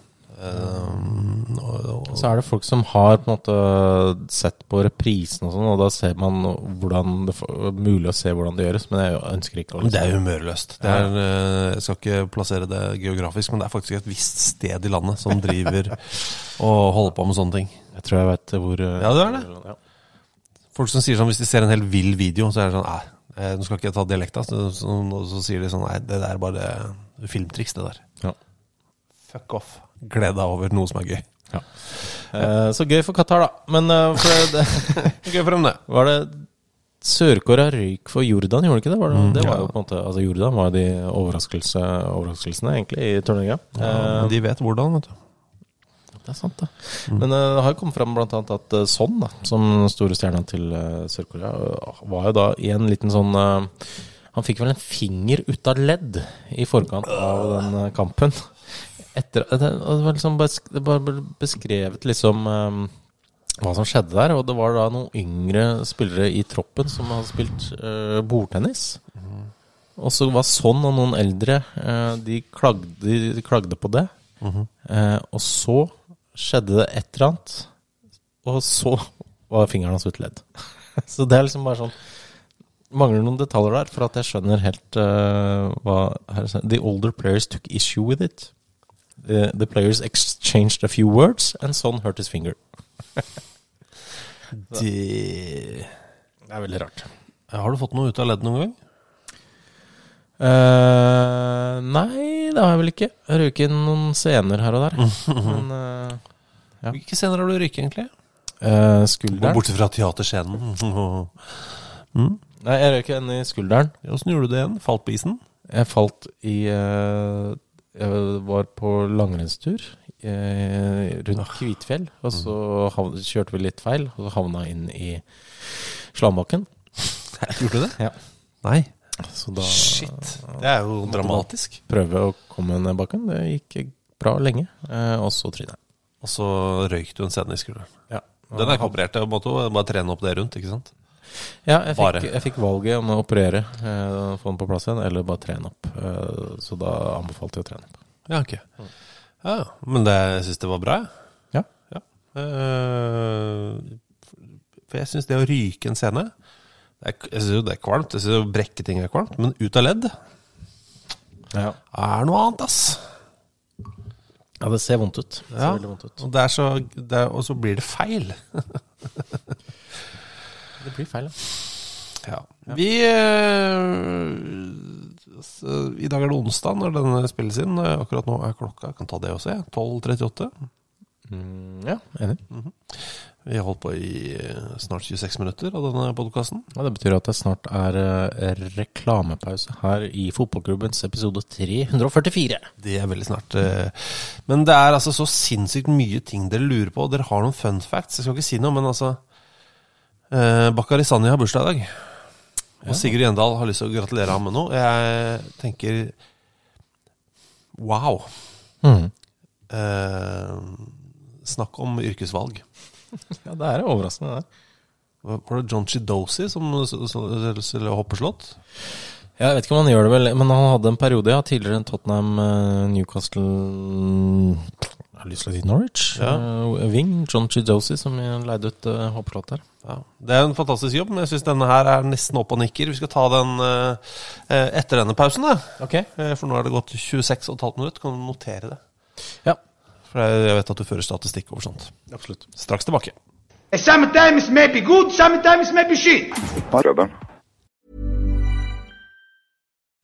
[SPEAKER 3] Ehm, og- og-
[SPEAKER 4] Så er det folk som har på en måte eh, sett på reprisen og sånn, og da ser man hvordan det er mulig å se hvordan det gjøres, men jeg ønsker ikke å
[SPEAKER 3] Men det er humørløst. Det er, eh, jeg skal ikke plassere det geografisk, men det er faktisk et visst sted i landet som driver og holder på med sånne ting.
[SPEAKER 4] Jeg tror jeg vet hvor eh,
[SPEAKER 3] Ja, det er det.
[SPEAKER 4] Ja.
[SPEAKER 3] Folk som sier sånn, hvis de ser en helt vill video, så er det sånn Nei, eh, nå skal ikke jeg ta dialekta. Så, så, og så sier de sånn Nei, det der er bare filmtriks, det der.
[SPEAKER 4] Ja.
[SPEAKER 3] Fuck off. Gled deg over noe som er gøy.
[SPEAKER 4] Eh, så gøy for Qatar, da. Men eh, for det,
[SPEAKER 3] Gøy for dem, det.
[SPEAKER 4] Var det Sør-Korea røyk for Jordan, gjorde det ikke det? Var det, det var jo
[SPEAKER 3] ja.
[SPEAKER 4] på en måte, altså Jordan var jo de overraskelse, overraskelsene egentlig i turneringa.
[SPEAKER 3] Men de vet hvordan, vet du.
[SPEAKER 4] det er sant, da. Men eh, det har jo kommet fram bl.a. at eh, Son, da, som den store stjerna til eh, Sør-Korea, eh, var jo da i en liten sånn eh, Han fikk vel en finger ut av ledd i forkant av den eh, kampen. Etter, det, det var liksom besk, det var beskrevet liksom eh, hva som skjedde der. Og det var da noen yngre spillere i troppen som hadde spilt eh, bordtennis. Og så var sånn og noen eldre eh, de, klagde, de klagde på det. eh, og så skjedde det et eller annet, og så var fingeren hans utledd. så det er liksom bare sånn Mangler noen detaljer der, for at jeg skjønner helt eh, hva her er. The older players took issue with it. The, the players exchanged a few words, and son hurt his finger.
[SPEAKER 3] Det
[SPEAKER 4] Det er veldig rart.
[SPEAKER 3] Har du fått noe ut av ledd noen gang?
[SPEAKER 4] Eh, nei, det har jeg vel ikke. Jeg røyker noen scener her og der. Men eh, Ja.
[SPEAKER 3] Hvilke scener har du røyket, egentlig?
[SPEAKER 4] eh, eh, skulderen
[SPEAKER 3] Borte fra teaterscenen.
[SPEAKER 4] Nei, jeg røyker en i skulderen.
[SPEAKER 3] Åssen gjorde du det igjen? Falt på isen?
[SPEAKER 4] Jeg falt i eh, Jeg var på langrennstur eh, rundt Kvitfjell. Og så havn- kjørte vi litt feil, og så havna jeg inn i slambakken.
[SPEAKER 3] Gjorde du det?
[SPEAKER 4] Ja.
[SPEAKER 3] Nei.
[SPEAKER 4] Så da
[SPEAKER 3] Shit. Det er jo dramatisk.
[SPEAKER 4] prøve å komme ned bakken. Det gikk bra lenge. Eh, og så trynet jeg.
[SPEAKER 3] Og så røyk du en scene i skulderen.
[SPEAKER 4] Ja.
[SPEAKER 3] Den er ikke operert, jeg måtte jo bare trene opp det rundt, ikke sant?
[SPEAKER 4] Ja, jeg
[SPEAKER 3] Bare.
[SPEAKER 4] fikk, jeg fikk valget om å operere, eh, få den på plass igjen, eller bare trene opp. Eh, så da anbefalte jeg å trene opp.
[SPEAKER 3] Ja, ok. Ja, men det, jeg syns det var bra, jeg.
[SPEAKER 4] Ja.
[SPEAKER 3] Ja. Eh, for jeg syns det å ryke en scene det er, Jeg syns jo det er kvalmt. Jeg syns jo brekke ting er kvalmt. Men ut av ledd
[SPEAKER 4] Ja.
[SPEAKER 3] er noe annet, ass.
[SPEAKER 4] det ser vondt ut. Det ser
[SPEAKER 3] Ja.
[SPEAKER 4] veldig vondt ut.
[SPEAKER 3] Og, det er så, det er, og så blir det feil.
[SPEAKER 4] Det blir feil, ja.
[SPEAKER 3] Ja. Vi eh, så, I dag er det onsdag når denne spilles inn. Eh, Akkurat nå er klokka jeg kan ta det også, jeg. 12.38.
[SPEAKER 4] Mm, ja, enig.
[SPEAKER 3] Vi har holdt på i eh, snart 26 minutter av denne podkasten.
[SPEAKER 4] Ja, det betyr at det snart er eh, reklamepause her i fotballklubbens episode 344.
[SPEAKER 3] Det er veldig snart. eh. Men det er altså så sinnssykt mye ting dere lurer på. Dere har noen fun facts. Jeg skal ikke si noe, men altså eh, Bakari Sani har bursdag i dag. Og Sigurd Gjendal har lyst til å gratulere ham med noe. Jeg tenker wow. Eh, snakk om yrkesvalg.
[SPEAKER 4] Ja, det er overraskende, det.
[SPEAKER 3] Var det John Chidosi som selger hoppeslott?
[SPEAKER 4] Ja, jeg vet ikke om han gjør det vel, men han hadde en periode ja, tidligere enn Tottenham, eh, Newcastle Jeg har lyst til å si Norwich. eh, Wing, John Chidosi, som leide ut uh, hoppeslott her.
[SPEAKER 3] Ja, Det er en fantastisk jobb, men jeg syns denne her er nesten opp og nikker. Vi skal ta den eh, eh, etter denne pausen, da.
[SPEAKER 4] Ok.
[SPEAKER 3] Eh, For nå er det gått 26,5 minutter. Kan du notere det?
[SPEAKER 4] Ja.
[SPEAKER 3] For jeg- jeg vet at du fører statistikk over sånt. Absolutt. Straks tilbake.
[SPEAKER 2] Sometimes may be good, sometimes may be shit.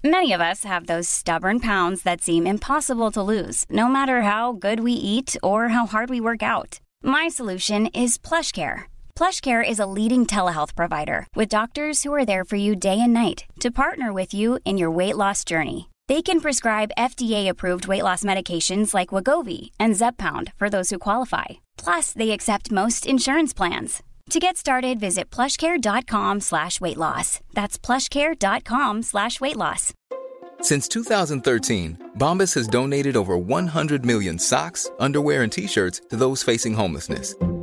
[SPEAKER 5] Many of us have those stubborn pounds that seem impossible to lose, no matter how good we eat or how hard we work out. My solution is PlushCare. PlushCare is a leading telehealth provider with doctors who are there for you day and night to partner with you in your weight loss journey. They can prescribe FDA-approved weight loss medications like Wagovi and Zepbound for those who qualify. Plus, they accept most insurance plans. To get started, visit plushcare.com slash weight loss. That's plushcare.com slash weight loss.
[SPEAKER 6] Since 2013, Bombas has donated over 100 million socks, underwear, and t shirts to those facing homelessness.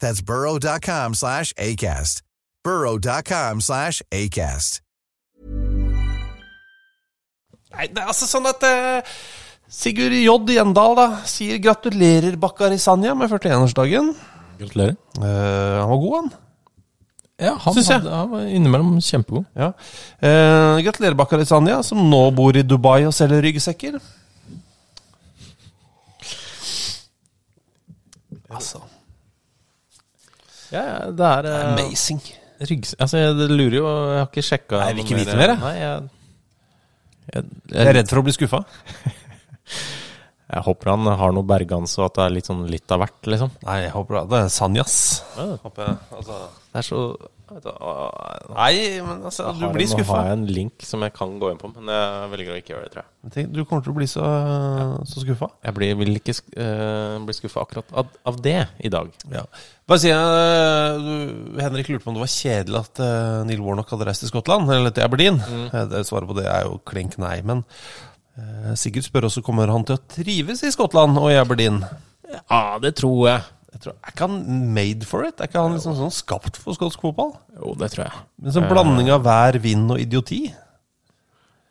[SPEAKER 7] That's burrow.com slash ACAST.
[SPEAKER 8] burrow.com slash ACAST.
[SPEAKER 3] Nei, det er altså sånn at eh, Sigurd J. Gjendal da, sier gratulerer Bakkari Sanja med 41-årsdagen.
[SPEAKER 4] Gratulerer.
[SPEAKER 3] Eh, han var god, han.
[SPEAKER 4] Ja, han,
[SPEAKER 3] Synes jeg.
[SPEAKER 4] hadde- han var innimellom kjempegod.
[SPEAKER 3] Ja. Eh, gratulerer Bakkari Sanja, som nå bor i Dubai og selger ryggsekker. Altså,
[SPEAKER 4] Ja, ja, det er eh,
[SPEAKER 3] amazing.
[SPEAKER 4] Ryggs... Altså, jeg lurer jo Jeg har ikke sjekka
[SPEAKER 3] Nei, jeg vil
[SPEAKER 4] noe
[SPEAKER 3] ikke vite mer, jeg.
[SPEAKER 4] Nei, jeg, jeg,
[SPEAKER 3] Jeg er redd for å bli skuffa.
[SPEAKER 4] Jeg håper han har noe bergans, og at det er litt sånn litt av hvert, liksom.
[SPEAKER 3] Nei, jeg håper det er Sanjas.
[SPEAKER 4] Ja, det
[SPEAKER 3] Håper jeg, altså.
[SPEAKER 4] Det er så vet du, å,
[SPEAKER 3] ah, Nei, men altså,
[SPEAKER 4] jeg
[SPEAKER 3] du
[SPEAKER 4] har
[SPEAKER 3] blir
[SPEAKER 4] en- Nå
[SPEAKER 3] skuffa.
[SPEAKER 4] har jeg en link som jeg kan gå inn på, men jeg velger å ikke gjøre det, tror jeg.
[SPEAKER 3] Du kommer til å bli så, så skuffa.
[SPEAKER 4] Jeg blir, vil ikke sk eh, bli skuffa akkurat av, av det i dag.
[SPEAKER 3] Ja. Bare si, eh, du, Henrik lurte på om det var kjedelig at eh, Neil Warnock hadde reist til Skottland, eller til Aberdeen.
[SPEAKER 4] Mm.
[SPEAKER 3] Eh, det Svaret på det er jo klink nei, men eh, Sigurd spør også kommer han til å trives i Skottland og i Aberdeen.
[SPEAKER 4] Ja, det tror jeg.
[SPEAKER 3] Jeg tror, er ikke han made for it? Er ikke han liksom sånn skapt for skotsk fotball?
[SPEAKER 4] Jo, det tror jeg.
[SPEAKER 3] En sånn blanding av vær, vind og idioti.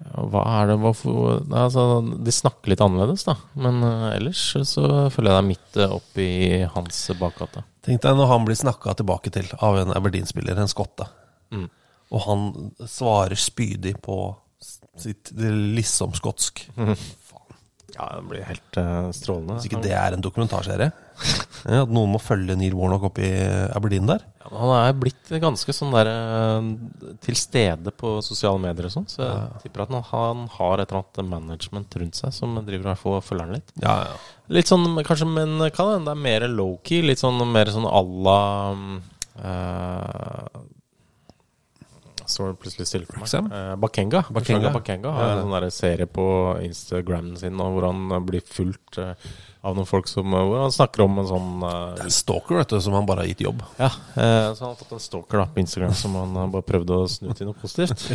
[SPEAKER 4] Ja, Hva er det Hvorfor Nei, altså, De snakker litt annerledes, da. Men eh, ellers så føler jeg det er midt eh, oppi hans eh, bakgate.
[SPEAKER 3] Tenk deg når han blir snakka tilbake til av en Aberdeen-spiller, en skotte. Mm. Og han svarer spydig på sitt liksom-skotsk.
[SPEAKER 4] Ja, det blir helt eh, strålende.
[SPEAKER 3] Hvis ikke det er en dokumentarserie. Ja, At noen må følge Neil Warnock opp i Aberdeen der.
[SPEAKER 4] Ja, men han er blitt ganske sånn der eh, til stede på sosiale medier og sånn, så jeg tipper at han- han har et eller annet management rundt seg som driver og får følger han litt.
[SPEAKER 3] Ja, ja.
[SPEAKER 4] Litt sånn, men kanskje, men kan hende det er mer low-key, litt sånn mer sånn à la um, eh, Står det plutselig stille for meg.
[SPEAKER 3] Wrexham?
[SPEAKER 4] Eh, Bakenga.
[SPEAKER 3] Bakenga.
[SPEAKER 4] Bakenga. Bakenga har
[SPEAKER 3] Ja,
[SPEAKER 4] en
[SPEAKER 3] ja.
[SPEAKER 4] sånn der serie på Instagramen sin nå, hvor han eh, blir fulgt eh, av noen folk som eh, Hvor han snakker om en sånn eh,
[SPEAKER 3] Det er en stalker vet du, som han bare har gitt jobb.
[SPEAKER 4] ja, eh, så han har fått en stalker da, på Instagram som han har bare prøvd å snu til noe positivt.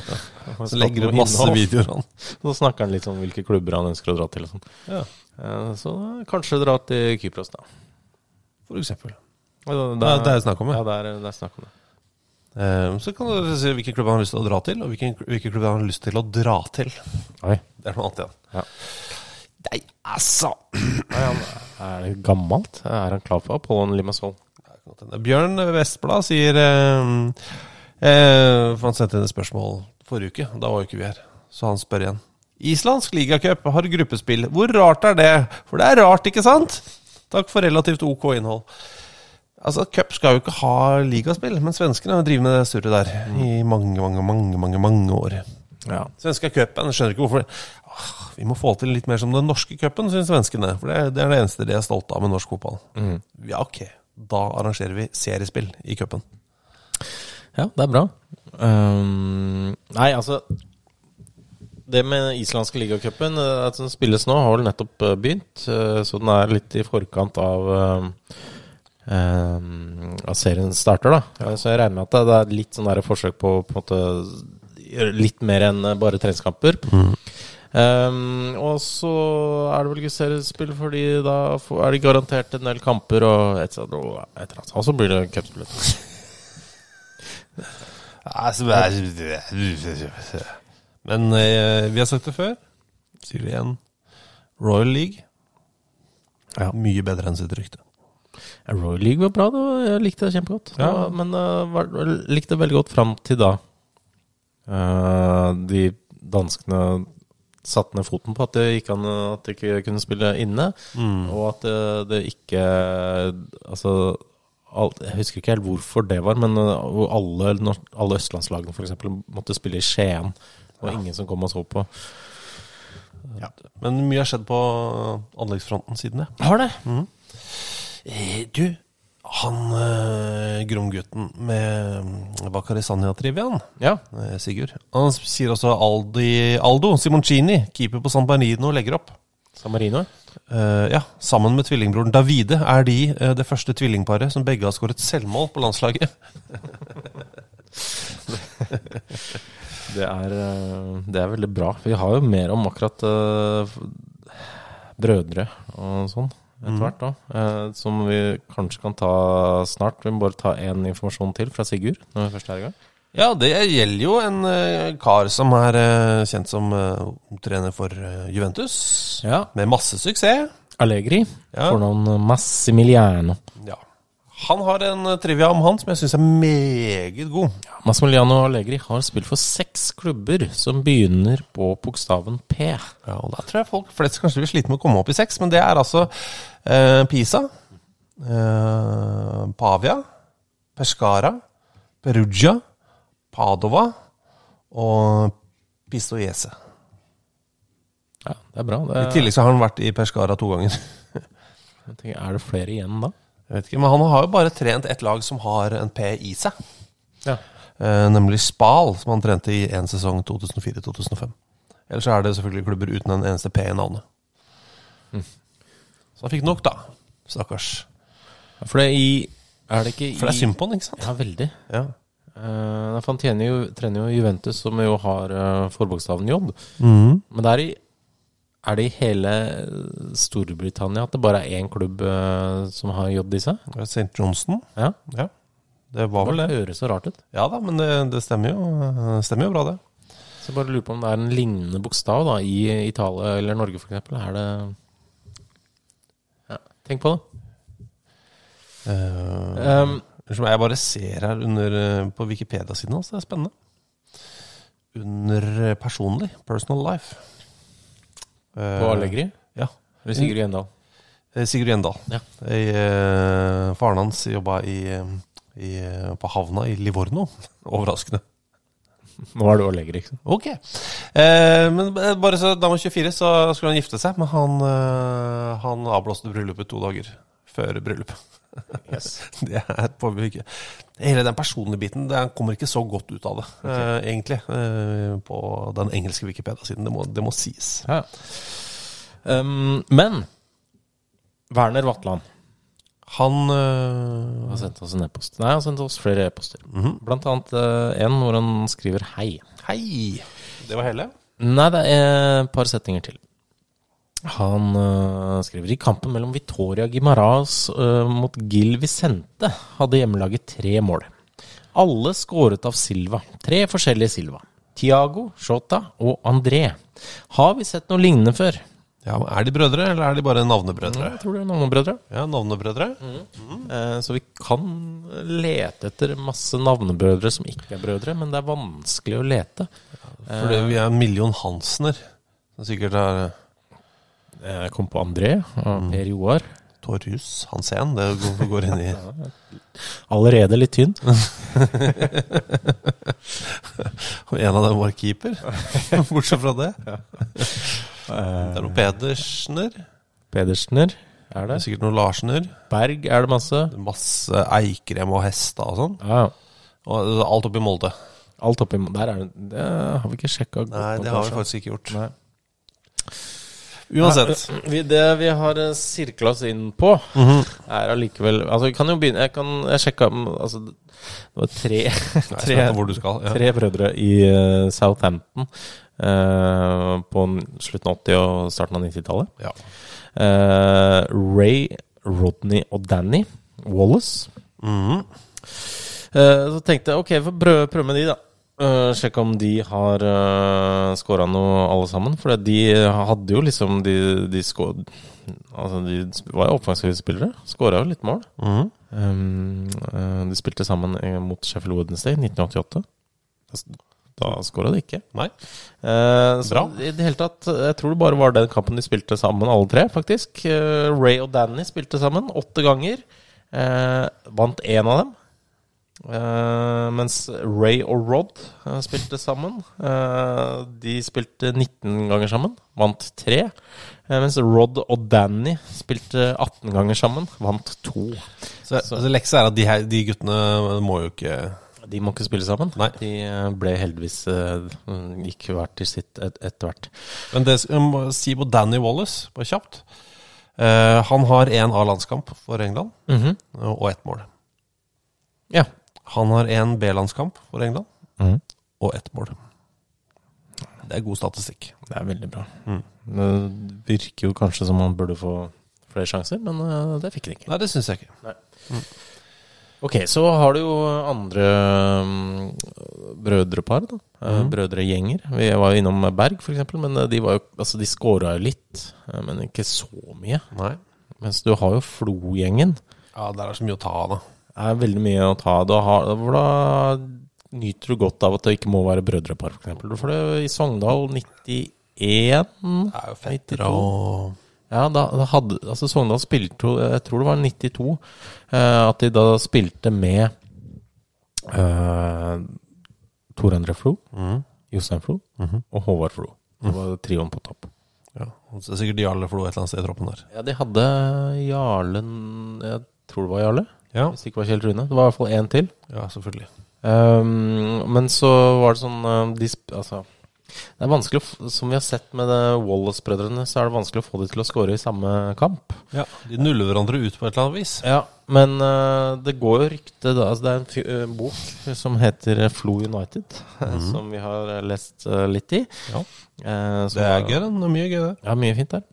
[SPEAKER 4] Og
[SPEAKER 3] Så legger
[SPEAKER 4] skapt
[SPEAKER 3] du
[SPEAKER 4] noe
[SPEAKER 3] masse
[SPEAKER 4] innhold.
[SPEAKER 3] videoer han.
[SPEAKER 4] Så snakker han litt om hvilke klubber han ønsker å dra til. Og sånn. Eh, så da, kanskje dra til Kypros, da.
[SPEAKER 3] For eksempel.
[SPEAKER 4] Ja, da-
[SPEAKER 3] Det er- det er snakk om det.
[SPEAKER 4] Ja, det er, det er snakk om det.
[SPEAKER 3] Eh, Så kan du se hvilken klubb han har lyst til å dra til, og hvilken, hvilken klubb han har lyst til å dra til.
[SPEAKER 4] Oi.
[SPEAKER 3] Det er noe annet igjen.
[SPEAKER 4] Ja.
[SPEAKER 3] Nei, altså!
[SPEAKER 4] Er det gammelt? Er han klar for Apollon Limassol?
[SPEAKER 3] Bjørn Vestblad sier eh, eh, for Han sendte inn et spørsmål forrige uke, da var jo ikke vi her. Så han spør igjen. Islandsk ligacup har gruppespill. Hvor rart er det? For det er rart, ikke sant? Takk for relativt ok innhold. Altså, Cup skal jo ikke ha ligaspill, men svenskene har drevet med det surret der i mange, mange, mange, mange, mange år.
[SPEAKER 4] Ja.
[SPEAKER 3] Svenska cupen, jeg skjønner ikke hvorfor Åh, Vi må få til litt mer som den norske cupen, syns svenskene. For det, er- det er det eneste de er stolte av med norsk fotball. Ja, ok. Da arrangerer vi seriespill i cupen.
[SPEAKER 4] Ja, det er bra. Ehm, nei, altså Det med islandske ligacupen eh, at den spilles nå, har vel nettopp eh, begynt. eh, Så den er litt i forkant av eh, ehm, at serien starter, da. Eh, Så jeg regner med at det- det er litt sånn der forsøk på å på en måte gjøre litt mer enn eh, bare treningskamper. Ehm, og så er det vel ikke seriespill, fordi da får- er det garantert en del kamper og et cetera, og et eller annet. Og så blir det cupspill.
[SPEAKER 3] Altså, Men eh, vi har sagt det før. Sier det igjen. Royal League.
[SPEAKER 4] Ja.
[SPEAKER 3] Mye bedre enn sitt rykte.
[SPEAKER 4] Ja, Royal League var bra, det var, jeg likte det kjempegodt. Det
[SPEAKER 3] Ja.
[SPEAKER 4] var- Men jeg var, var- likte det veldig godt fram til da eh, de danskene satte ned foten på at det ikke, an, at det ikke kunne spille inne,
[SPEAKER 3] Mm.
[SPEAKER 4] og at eh, det, det ikke Altså alt, Jeg husker ikke helt hvorfor det var, men eh, hvor alle, nor- alle østlandslagene for eksempel måtte spille i Skien. Og ingen som kom og så på.
[SPEAKER 3] Men mye har skjedd på anleggsfronten siden det.
[SPEAKER 4] Har det?
[SPEAKER 3] Eh, Du, han eh, Gromgutten med Vakarisania-triviaen
[SPEAKER 4] Ja.
[SPEAKER 3] Eh, Sigurd. Han s- sier også Aldi, Aldo Simoncini, keeper på San Bernino, legger opp.
[SPEAKER 4] San Marino?
[SPEAKER 3] Eh, ja, Sammen med tvillingbroren Davide er de eh, det første tvillingparet som begge har skåret selvmål på landslaget.
[SPEAKER 4] Det er, eh, det er veldig bra. Vi har jo mer om akkurat eh, f- brødre og sånn. etter hvert. da, eh, Som vi kanskje kan ta snart. Vi må bare ta én informasjon til fra Sigurd. når vi først er i gang.
[SPEAKER 3] Ja, det gjelder jo en eh, kar som er eh, kjent som eh, trener for eh, Juventus. Med masse suksess.
[SPEAKER 4] Allegri.
[SPEAKER 3] Ja.
[SPEAKER 4] Fornavn Massimiliano.
[SPEAKER 3] Ja. Han har en eh, trivia om han som jeg syns er meget god.
[SPEAKER 4] Massimiliano Allegri har spilt for seks klubber som begynner på bokstaven P.
[SPEAKER 3] Ja, og Da tror jeg folk flest kanskje vil slite med å komme opp i seks, men det er altså eh, Pisa, eh, Pavia, Pescara, Perugia, Padova og Pistoiese.
[SPEAKER 4] Ja, det er bra. Det
[SPEAKER 3] I
[SPEAKER 4] er,
[SPEAKER 3] tillegg så har han vært i Pescara to ganger.
[SPEAKER 4] jeg tenker, er det flere igjen da?
[SPEAKER 3] Jeg vet ikke, Men han har jo bare trent ett lag som har en P i seg.
[SPEAKER 4] Ja.
[SPEAKER 3] Eh, nemlig Spal, som han trente i én sesong 2004-2005. Ellers så er det selvfølgelig klubber uten en eneste P i navnet. Så han fikk nok, da. Stakkars.
[SPEAKER 4] For det er i Er det ikke i
[SPEAKER 3] For det er synd på han, ikke sant?
[SPEAKER 4] Ja, veldig.
[SPEAKER 3] Ja.
[SPEAKER 4] Eh, for han tjener jo, trener jo Juventus, som jo har eh, forbokstaven J.
[SPEAKER 3] Mhm.
[SPEAKER 4] Men det er, i, er det i hele Storbritannia at det bare er én klubb eh, som har J i seg?
[SPEAKER 3] Det er St. Johnston.
[SPEAKER 4] Ja,
[SPEAKER 3] Ja. Det var vel det.
[SPEAKER 4] høres så rart ut.
[SPEAKER 3] Ja da, men det, det stemmer, jo, det stemmer jo bra, det.
[SPEAKER 4] Så jeg bare lurer på om det er en lignende bokstav da, i Italia eller Norge f.eks. Er det ja, Tenk på det.
[SPEAKER 3] Eh,
[SPEAKER 4] Um,
[SPEAKER 3] som jeg bare ser her under, eh, på Wikipedia-siden hans, det er spennende. Under eh, personlig, personal life. Eh,
[SPEAKER 4] på Allegri?
[SPEAKER 3] Ja.
[SPEAKER 4] Eller Sigurd Gjendal?
[SPEAKER 3] Eh, Sigurd Gjendal.
[SPEAKER 4] Ja.
[SPEAKER 3] Jeg, eh, faren hans jobba i, eh, i, eh, på havna i Livorno. Overraskende.
[SPEAKER 4] Nå er du Allegri, ikke sant?
[SPEAKER 3] Ok. Eh, men eh, bare så da han var 24, så skulle han gifte seg, men han, eh, han avblåste bryllupet to dager før bryllupet. det er på ikke. Hele den personlige biten det, han kommer ikke så godt ut av det, eh, egentlig. Eh, på den engelske Wikipedia-siden. Det, må- det må sies.
[SPEAKER 4] Ja. Um, men Werner Vatland
[SPEAKER 3] Han eh,
[SPEAKER 4] har sendt oss en e-post. Nei, han har sendt oss flere e-poster. Blant annet eh, en hvor han skriver 'hei'.
[SPEAKER 3] Hei! Det var hele?
[SPEAKER 4] Nei, det er et par setninger til. Han øh, skriver i kampen mellom Vitoria Gimaraz mot Gil Vicente hadde hjemmelaget tre mål. Alle skåret av Silva. Tre forskjellige Silva. Tiago, Shota og André. Har vi sett noe lignende før?
[SPEAKER 3] Ja, men Er de brødre, eller er de bare
[SPEAKER 4] Jeg
[SPEAKER 3] navnebrødre?
[SPEAKER 4] tror det er noen brødre.
[SPEAKER 3] Ja, navnebrødre.
[SPEAKER 4] Eh, Så vi kan lete etter masse navnebrødre som ikke er brødre, men det er vanskelig å lete.
[SPEAKER 3] For det, vi er en million Hansener. Som sikkert er eh,
[SPEAKER 4] Eh, Jeg kom på André og Per Joar.
[SPEAKER 3] Torjus Hansen. Det går, går inn i
[SPEAKER 4] Allerede litt tynn.
[SPEAKER 3] Og en av dem var keeper. Bortsett fra det. Det er noen Pedersener.
[SPEAKER 4] Pedersener
[SPEAKER 3] Det
[SPEAKER 4] er det.
[SPEAKER 3] er sikkert noen Larsener.
[SPEAKER 4] Berg er det masse.
[SPEAKER 3] Det er Masse Eikrem og Hesta og sånn.
[SPEAKER 4] Ja, ja.
[SPEAKER 3] Og det er alt oppi Molde.
[SPEAKER 4] Alt oppi Der er det, det har vi ikke sjekka godt.
[SPEAKER 3] Nei, det har vi faktisk ikke gjort.
[SPEAKER 4] Nei.
[SPEAKER 3] Uansett.
[SPEAKER 4] Vi, det vi har eh, sirkla oss inn på,
[SPEAKER 3] Mhm.
[SPEAKER 4] er allikevel Altså, vi kan jo begynne Jeg, kan, jeg sjekka om Altså, det var tre,
[SPEAKER 3] Nei, jeg
[SPEAKER 4] tre
[SPEAKER 3] vet hvor du skal. Ja.
[SPEAKER 4] Tre brødre i eh, Southampton eh, på n- slutten av 80- og starten av 90-tallet.
[SPEAKER 3] Ja.
[SPEAKER 4] Eh, Ray, Rodney og Danny Wallace. Eh, så tenkte jeg ok, vi får prøve, prøve med de, da. Eh, sjekke om de har uh, scora noe, alle sammen. For de hadde jo liksom De, de, sko- altså, de sp- var jo offensive spillere. Skåra jo litt mål. Um, eh, de spilte sammen eh, mot Sheffield Wednesday i 1988. Altså, Da skåra de ikke.
[SPEAKER 3] Nei.
[SPEAKER 4] Eh, så
[SPEAKER 3] Bra.
[SPEAKER 4] I det hele tatt, jeg tror det bare var den kampen de spilte sammen, alle tre, faktisk. Eh, Ray og Danny spilte sammen åtte ganger. Eh, vant én av dem. Eh, mens Ray og Rod eh, spilte sammen. Eh, de spilte 19 ganger sammen, vant tre. Eh, mens Rod og Danny spilte 18 ganger sammen, vant to.
[SPEAKER 3] Så, altså, leksa er at de, her, de guttene må jo ikke
[SPEAKER 4] De må ikke spille sammen.
[SPEAKER 3] Nei.
[SPEAKER 4] De eh, ble heldigvis eh, Gikk hver til sitt et- etter hvert.
[SPEAKER 3] Men det jeg må si på Danny Wallace, bare kjapt Eh, Han har én A-landskamp for England,
[SPEAKER 4] Mhm.
[SPEAKER 3] og ett mål.
[SPEAKER 4] Ja.
[SPEAKER 3] Han har én B-landskamp for England,
[SPEAKER 4] Mhm.
[SPEAKER 3] og ett mål. Det er god statistikk. Mm.
[SPEAKER 4] Det er veldig bra. Det virker jo kanskje som man burde få flere sjanser, men eh, det fikk han ikke.
[SPEAKER 3] Nei, det syns jeg ikke.
[SPEAKER 4] Ok, så har du jo andre mm, brødrepar, da. Eh,
[SPEAKER 3] Mhm.
[SPEAKER 4] Brødregjenger. Vi var jo innom Berg, for eksempel, men eh, de var jo Altså, de scora jo litt, eh, men ikke så mye.
[SPEAKER 3] Nei.
[SPEAKER 4] Mens du har jo Flo-gjengen.
[SPEAKER 3] Ja, der er så mye å ta av, da.
[SPEAKER 4] Det er veldig mye å ta. Da, har, hvor da nyter du godt av at det ikke må være brødrepar, f.eks. For det er i Sogndal 91
[SPEAKER 3] Det er jo fettere og
[SPEAKER 4] Ja, da, da hadde Altså, Sogndal spilte jo Jeg tror det var 92. Eh, at de da spilte med eh, Tor André Flo, Jostein Flo og Håvard Flo. Det var trioen på topp.
[SPEAKER 3] Ja, og så er det sikkert Jarle Flo et eller annet sted i troppen der.
[SPEAKER 4] Ja, de hadde Jarlen Jeg tror det var Jarle.
[SPEAKER 3] Ja.
[SPEAKER 4] Hvis det ikke var Kjell Rune. Det var i hvert fall én til.
[SPEAKER 3] Ja, selvfølgelig.
[SPEAKER 4] Ehm, men så var det sånn ehm, de, sp- altså, Det er vanskelig å, f- Som vi har sett med det Wallace-brødrene, så er det vanskelig å få de til å score i samme kamp.
[SPEAKER 3] Ja, De nuller hverandre ut på et eller annet vis.
[SPEAKER 4] Ja, Men eh, det går jo rykte da, altså Det er en fy- eh, bok som heter Flo United, eh,
[SPEAKER 3] Mhm.
[SPEAKER 4] som vi har eh, lest eh, litt i.
[SPEAKER 3] Ja.
[SPEAKER 4] Eh, som
[SPEAKER 3] Det er
[SPEAKER 4] var-
[SPEAKER 3] gøy, den. Det er mye gøy, det.
[SPEAKER 4] Ja, mye fint der.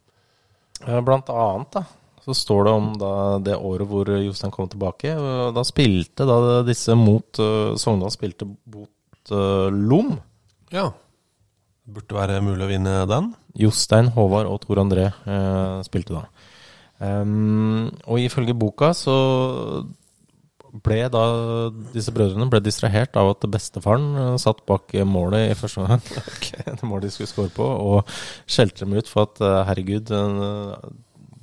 [SPEAKER 4] Eh, Blant annet da, så står det om da, det året hvor eh, Jostein kom tilbake. og Da spilte da disse mot eh, Sogndal spilte mot eh, Lom.
[SPEAKER 3] Ja. Det burde være mulig å vinne den.
[SPEAKER 4] Jostein, Håvard og Tor André eh, spilte da. Ehm, og ifølge boka så ble da disse brødrene ble distrahert av at bestefaren eh, satt bak eh, målet i første gang. det målet de skulle score på, og skjelte dem ut for at eh, herregud eh,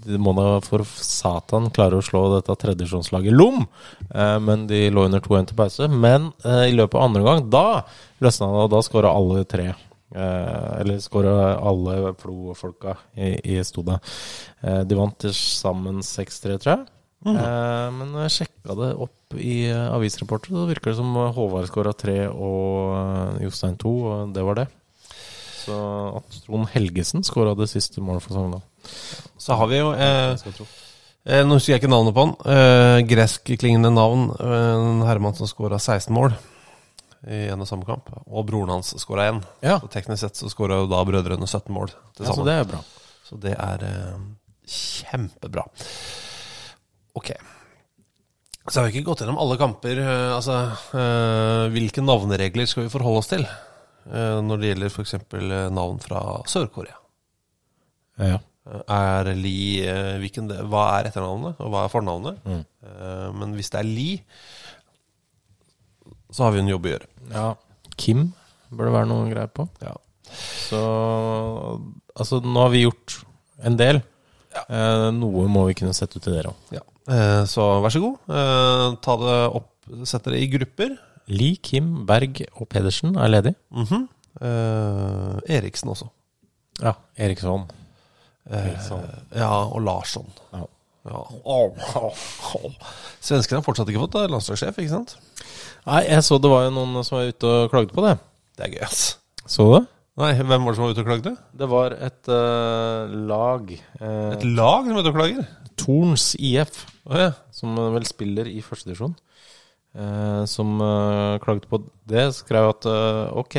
[SPEAKER 4] de må da for satan klare å slå dette tredjevisjonslaget lom! Eh, men de lå under 2-1 til pause. Men eh, i løpet av andre omgang, da løsna det, og da skåra alle tre. Eh, eller skåra alle Flo-folka i, i Stoda. Eh, de vant til sammen 6-3, tror jeg. Eh, men når jeg sjekka det opp i eh, avisreporter, så virker det som Håvard skåra tre og eh, Jostein to, og det var det. Så at Trond Helgesen skåra det siste målet for Sogndal.
[SPEAKER 3] Så har vi jo eh,
[SPEAKER 4] skal tro.
[SPEAKER 3] eh, Nå husker jeg ikke navnet på han. Eh, Greskklingende navn. eh, En herremann som skåra 16 mål i en og samme kamp. Og broren hans skåra én.
[SPEAKER 4] Ja.
[SPEAKER 3] Så teknisk sett så skåra jo da brødrene 17 mål til
[SPEAKER 4] Ja, så
[SPEAKER 3] sammen.
[SPEAKER 4] det er bra.
[SPEAKER 3] Så det er eh, kjempebra. Ok. Så har vi ikke gått gjennom alle kamper. eh, altså, eh, hvilke navneregler skal vi forholde oss til eh, når det gjelder f.eks. navn fra Sør-Korea?
[SPEAKER 4] Ja.
[SPEAKER 3] Eh, Er Li eh, hvilken, det- Hva er etternavnet, og hva er fornavnet? Eh, men hvis det er Li, så har vi en jobb å gjøre.
[SPEAKER 4] ja. Kim bør det være noe greier på. Så altså, nå har vi gjort en del. Eh, noe må vi kunne sette ut til dere òg.
[SPEAKER 3] Ja. Eh, så vær så god. Eh, ta det opp, Sett dere i grupper.
[SPEAKER 4] Lee, Kim, Berg og Pedersen er ledig.
[SPEAKER 3] Mhm. Eh, Eriksen også.
[SPEAKER 4] Ja. Eriksson.
[SPEAKER 3] Eh,
[SPEAKER 4] Eriksson.
[SPEAKER 3] ja, og Larsson.
[SPEAKER 4] Ja.
[SPEAKER 3] Ja. Åh, åh, åh. Svenskene har fortsatt ikke fått eh, landslagssjef, ikke sant?
[SPEAKER 4] Nei, jeg så det var jo noen som var ute og klagde på det.
[SPEAKER 3] Det er gøy, ass.
[SPEAKER 4] Så du det?
[SPEAKER 3] Nei, hvem var det som var ute og klagde?
[SPEAKER 4] Det var et eh, lag eh,
[SPEAKER 3] Et lag som var ute og klager?
[SPEAKER 4] Torns IF,
[SPEAKER 3] Å ja.
[SPEAKER 4] som eh, vel spiller i første divisjon, eh, som eh, klagde på det, skrev at eh, ok,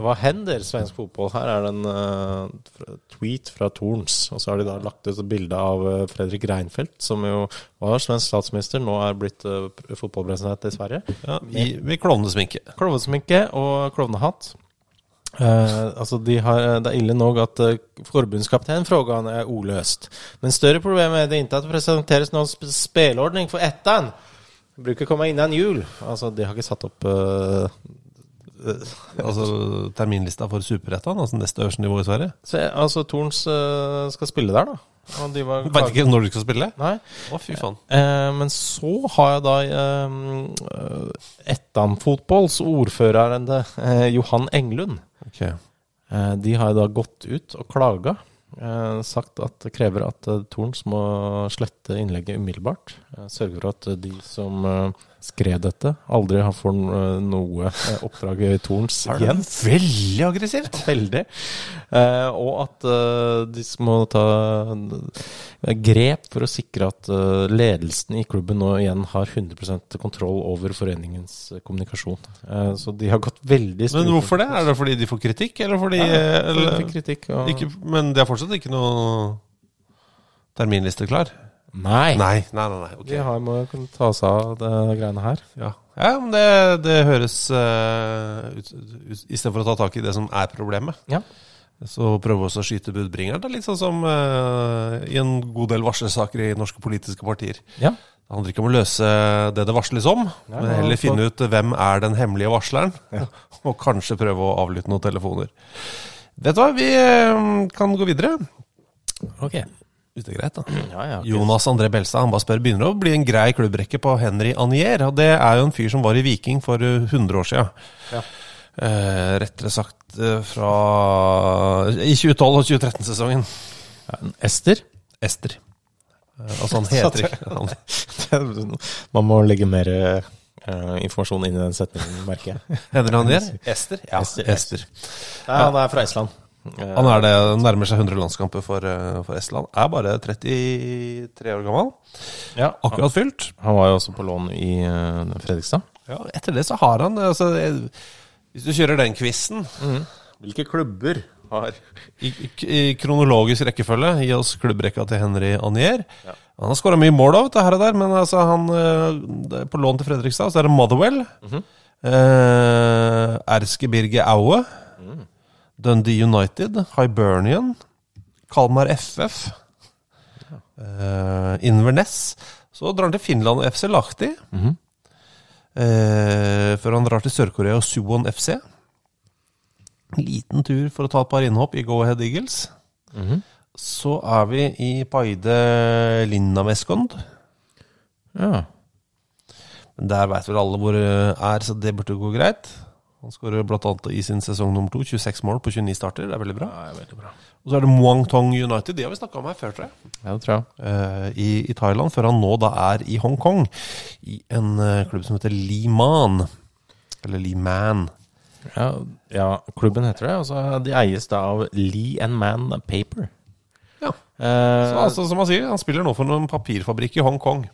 [SPEAKER 4] hva hender svensk fotball? Her er det en eh, fra- tweet fra Torns, og så har de da lagt ut et bilde av eh, Fredrik Reinfeldt, som jo var svensk statsminister, nå er blitt eh, pr- fotballpresident i Sverige.
[SPEAKER 3] ja i, med klovnesminke.
[SPEAKER 4] Klovnesminke og klovnehatt. Eh, altså de har, det er ille nok at eh, forbundskapteinen frågan er oløst. Men større problem er det ikke at det presenteres noen sp spelordning for ettan. Bruker komme innan jul. Altså, de har ikke satt opp eh,
[SPEAKER 3] eh, Altså terminlista for Superettan, altså neste øverste nivå i Sverige.
[SPEAKER 4] se, Altså, Torns eh, skal spille der, da. Og de var
[SPEAKER 3] Veit ikke når du skal spille.
[SPEAKER 4] Nei.
[SPEAKER 3] Å, fy faen.
[SPEAKER 4] Eh, men så har jeg da eh, eh, Ettan-fotballs ordførerende eh, Johan Englund. Eh, De har da gått ut og klaga. eh, Sagt at det krever at eh, Torns må slette innlegget umiddelbart. eh, Sørge for at eh, de som eh, skrev dette, aldri har får eh, noe eh, oppdrag i Torns igjen.
[SPEAKER 3] veldig aggressivt.
[SPEAKER 4] Veldig. Eh, Og at eh, de må ta eh, grep for å sikre at eh, ledelsen i klubben nå igjen har 100 kontroll over foreningens eh, kommunikasjon. Eh, Så de har gått veldig
[SPEAKER 3] Men hvorfor det? Er det fordi de får kritikk, eller fordi
[SPEAKER 4] Ja,
[SPEAKER 3] eh,
[SPEAKER 4] de
[SPEAKER 3] eller,
[SPEAKER 4] fikk kritikk, og-
[SPEAKER 3] ikke, Men det er fortsatt ikke noe terminliste klar?
[SPEAKER 4] Nei.
[SPEAKER 3] Nei, nei, nei, nei. ok.
[SPEAKER 4] De har, må jo kunne ta seg av det greiene her.
[SPEAKER 3] Ja, ja men det, det høres uh, ut, ut Istedenfor å ta tak i det som er problemet,
[SPEAKER 4] Ja.
[SPEAKER 3] så prøve også å skyte budbringeren. Det er litt sånn som eh, i en god del varslersaker i norske politiske partier.
[SPEAKER 4] Ja.
[SPEAKER 3] Det handler ikke om å løse det det varsles om,
[SPEAKER 4] Nei,
[SPEAKER 3] men
[SPEAKER 4] nei,
[SPEAKER 3] heller
[SPEAKER 4] altså-
[SPEAKER 3] finne ut hvem er den hemmelige varsleren, og kanskje prøve å avlytte noen telefoner. Vet du hva, vi eh, kan gå videre.
[SPEAKER 4] Ok.
[SPEAKER 3] Hvis det er greit, da.
[SPEAKER 4] Ja, ja, ok.
[SPEAKER 3] Jonas André Belstad han bare spør, begynner det å bli en grei klubbrekke på Henry Anier. Og det er jo en fyr som var i Viking for eh, 100 år sia.
[SPEAKER 4] Ja.
[SPEAKER 3] Eh, rettere sagt eh, fra I 2012- og 2013-sesongen.
[SPEAKER 4] Ester?
[SPEAKER 3] Ester. Eh, altså, han heter ikke han,
[SPEAKER 4] Man må legge mer eh, informasjon inn i den setningen, merker jeg.
[SPEAKER 3] Henry Anier? Ester? Ja,
[SPEAKER 4] Ester.
[SPEAKER 3] Ester.
[SPEAKER 4] Ja, han er fra Island.
[SPEAKER 3] Han er det, nærmer seg 100 landskamper for, eh, for Estland. Er bare 33 år gammel.
[SPEAKER 4] Ja,
[SPEAKER 3] Akkurat fylt.
[SPEAKER 4] Han var jo også på lån i eh, Fredrikstad.
[SPEAKER 3] Ja, etter det så har han eh, altså, eh, Hvis du kjører den quizen
[SPEAKER 4] Mhm. Hvilke klubber har
[SPEAKER 3] i, i- i kronologisk rekkefølge, gi oss klubbrekka til Henry Anier. Han har skåra mye mål av det her og der, men altså, han eh, det er på lån til Fredrikstad så er det Motherwell. eh, Erskebirge Aue. Dundee United. Hibernian. Kalmar FF. eh, Inverness. Så drar han til Finland og FC Lahti. Eh, før han drar til Sør-Korea og Suwon FC. Liten tur for å ta et par innhopp i Go Ahead Eagles. Mhm. Så er vi i Paide Linnameskond.
[SPEAKER 4] Ja.
[SPEAKER 3] Men der veit vel alle hvor det er, så det burde gå greit. Han skårer bl.a. i sin sesong nummer to 26 mål på 29 starter. Det er veldig bra. Og så er det Muangthong United. De har vi snakka om her før, tror jeg.
[SPEAKER 4] ja, det tror jeg.
[SPEAKER 3] eh, i, i Thailand, før han nå da er i Hongkong, i en eh, klubb som heter Liman. Eller Liman.
[SPEAKER 4] Ja, ja, klubben heter det. Og så de eies da av Lee and Man Paper.
[SPEAKER 3] Ja.
[SPEAKER 4] Eh,
[SPEAKER 3] Så, altså, som han sier, han spiller nå for en papirfabrikk i Hongkong.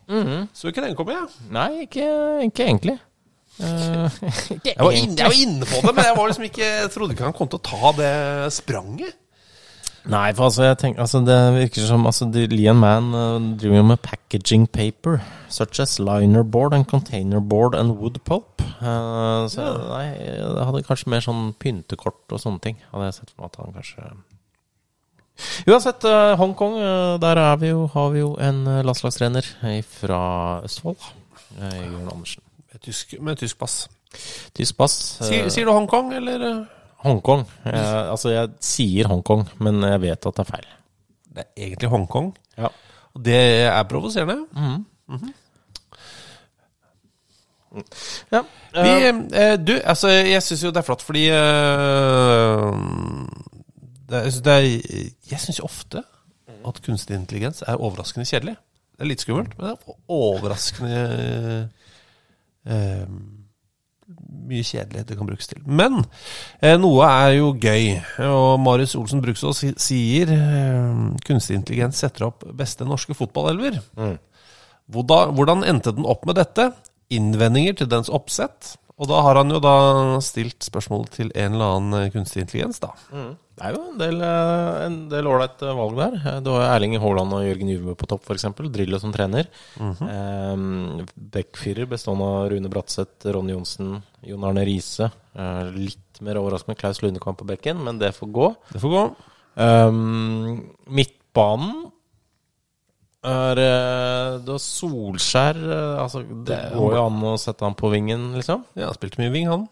[SPEAKER 3] Så ikke den komme, jeg.
[SPEAKER 4] Nei, ikke, ikke egentlig. Eh, ikke
[SPEAKER 3] Jeg var, inne, jeg var inne på det, men jeg var liksom ikke, jeg trodde ikke han kom til å ta det spranget.
[SPEAKER 4] Nei, for altså, jeg tenker, altså det virker som altså, de- Lian Man eh, driver jo med packaging paper, such as liner board and container board and wood pulp. Eh, så nei, jeg hadde kanskje mer sånn pyntekort og sånne ting. Hadde jeg sett for meg at han kanskje Uansett, eh, Hongkong, eh, der er vi jo, har vi jo en eh, landslagstrener eh, fra Østfold. eh, Jørn Andersen.
[SPEAKER 3] Med tysk, med tysk pass.
[SPEAKER 4] Tysk pass. eh,
[SPEAKER 3] Sier, sier du Hongkong, eller? eh?
[SPEAKER 4] Hongkong. Eh, altså, jeg sier Hongkong, men jeg vet at det er feil.
[SPEAKER 3] Det er egentlig Hongkong.
[SPEAKER 4] Ja.
[SPEAKER 3] Og det er provoserende.
[SPEAKER 4] ja.
[SPEAKER 3] Vi, eh, du, altså, jeg syns jo det er flott, fordi eh, det, er- jeg synes det er, Jeg syns ofte at kunstig intelligens er overraskende kjedelig. Det er litt skummelt, men det er overraskende eh, mye kjedelighet det kan brukes til. Men eh, noe er jo gøy, og Marius Olsen Bruksås si- sier eh, kunstig intelligens setter opp beste norske fotballelver. Hvordan, hvordan endte den opp med dette? Innvendinger til dens oppsett. Og da har han jo da stilt spørsmål til en eller annen eh, kunstig intelligens, da.
[SPEAKER 4] Det er jo en del, eh, en del ålreit eh, valg der. Eh, Du har jo Erling Haaland og Jørgen Juve på topp, f.eks. Drillo som trener. Mm
[SPEAKER 3] Mhm.
[SPEAKER 4] Backfirer bestående av Rune Bratseth, Ronny Johnsen, Jon Arne Riise. Eh, litt mer overraskende Klaus Lundekamp på bekken, men det får gå.
[SPEAKER 3] Det får gå.
[SPEAKER 4] Ehm, midtbanen er eh, Du har Solskjær eh, altså, Det går jo an å sette han på vingen, liksom.
[SPEAKER 3] Ja, han spilte mye wing, han.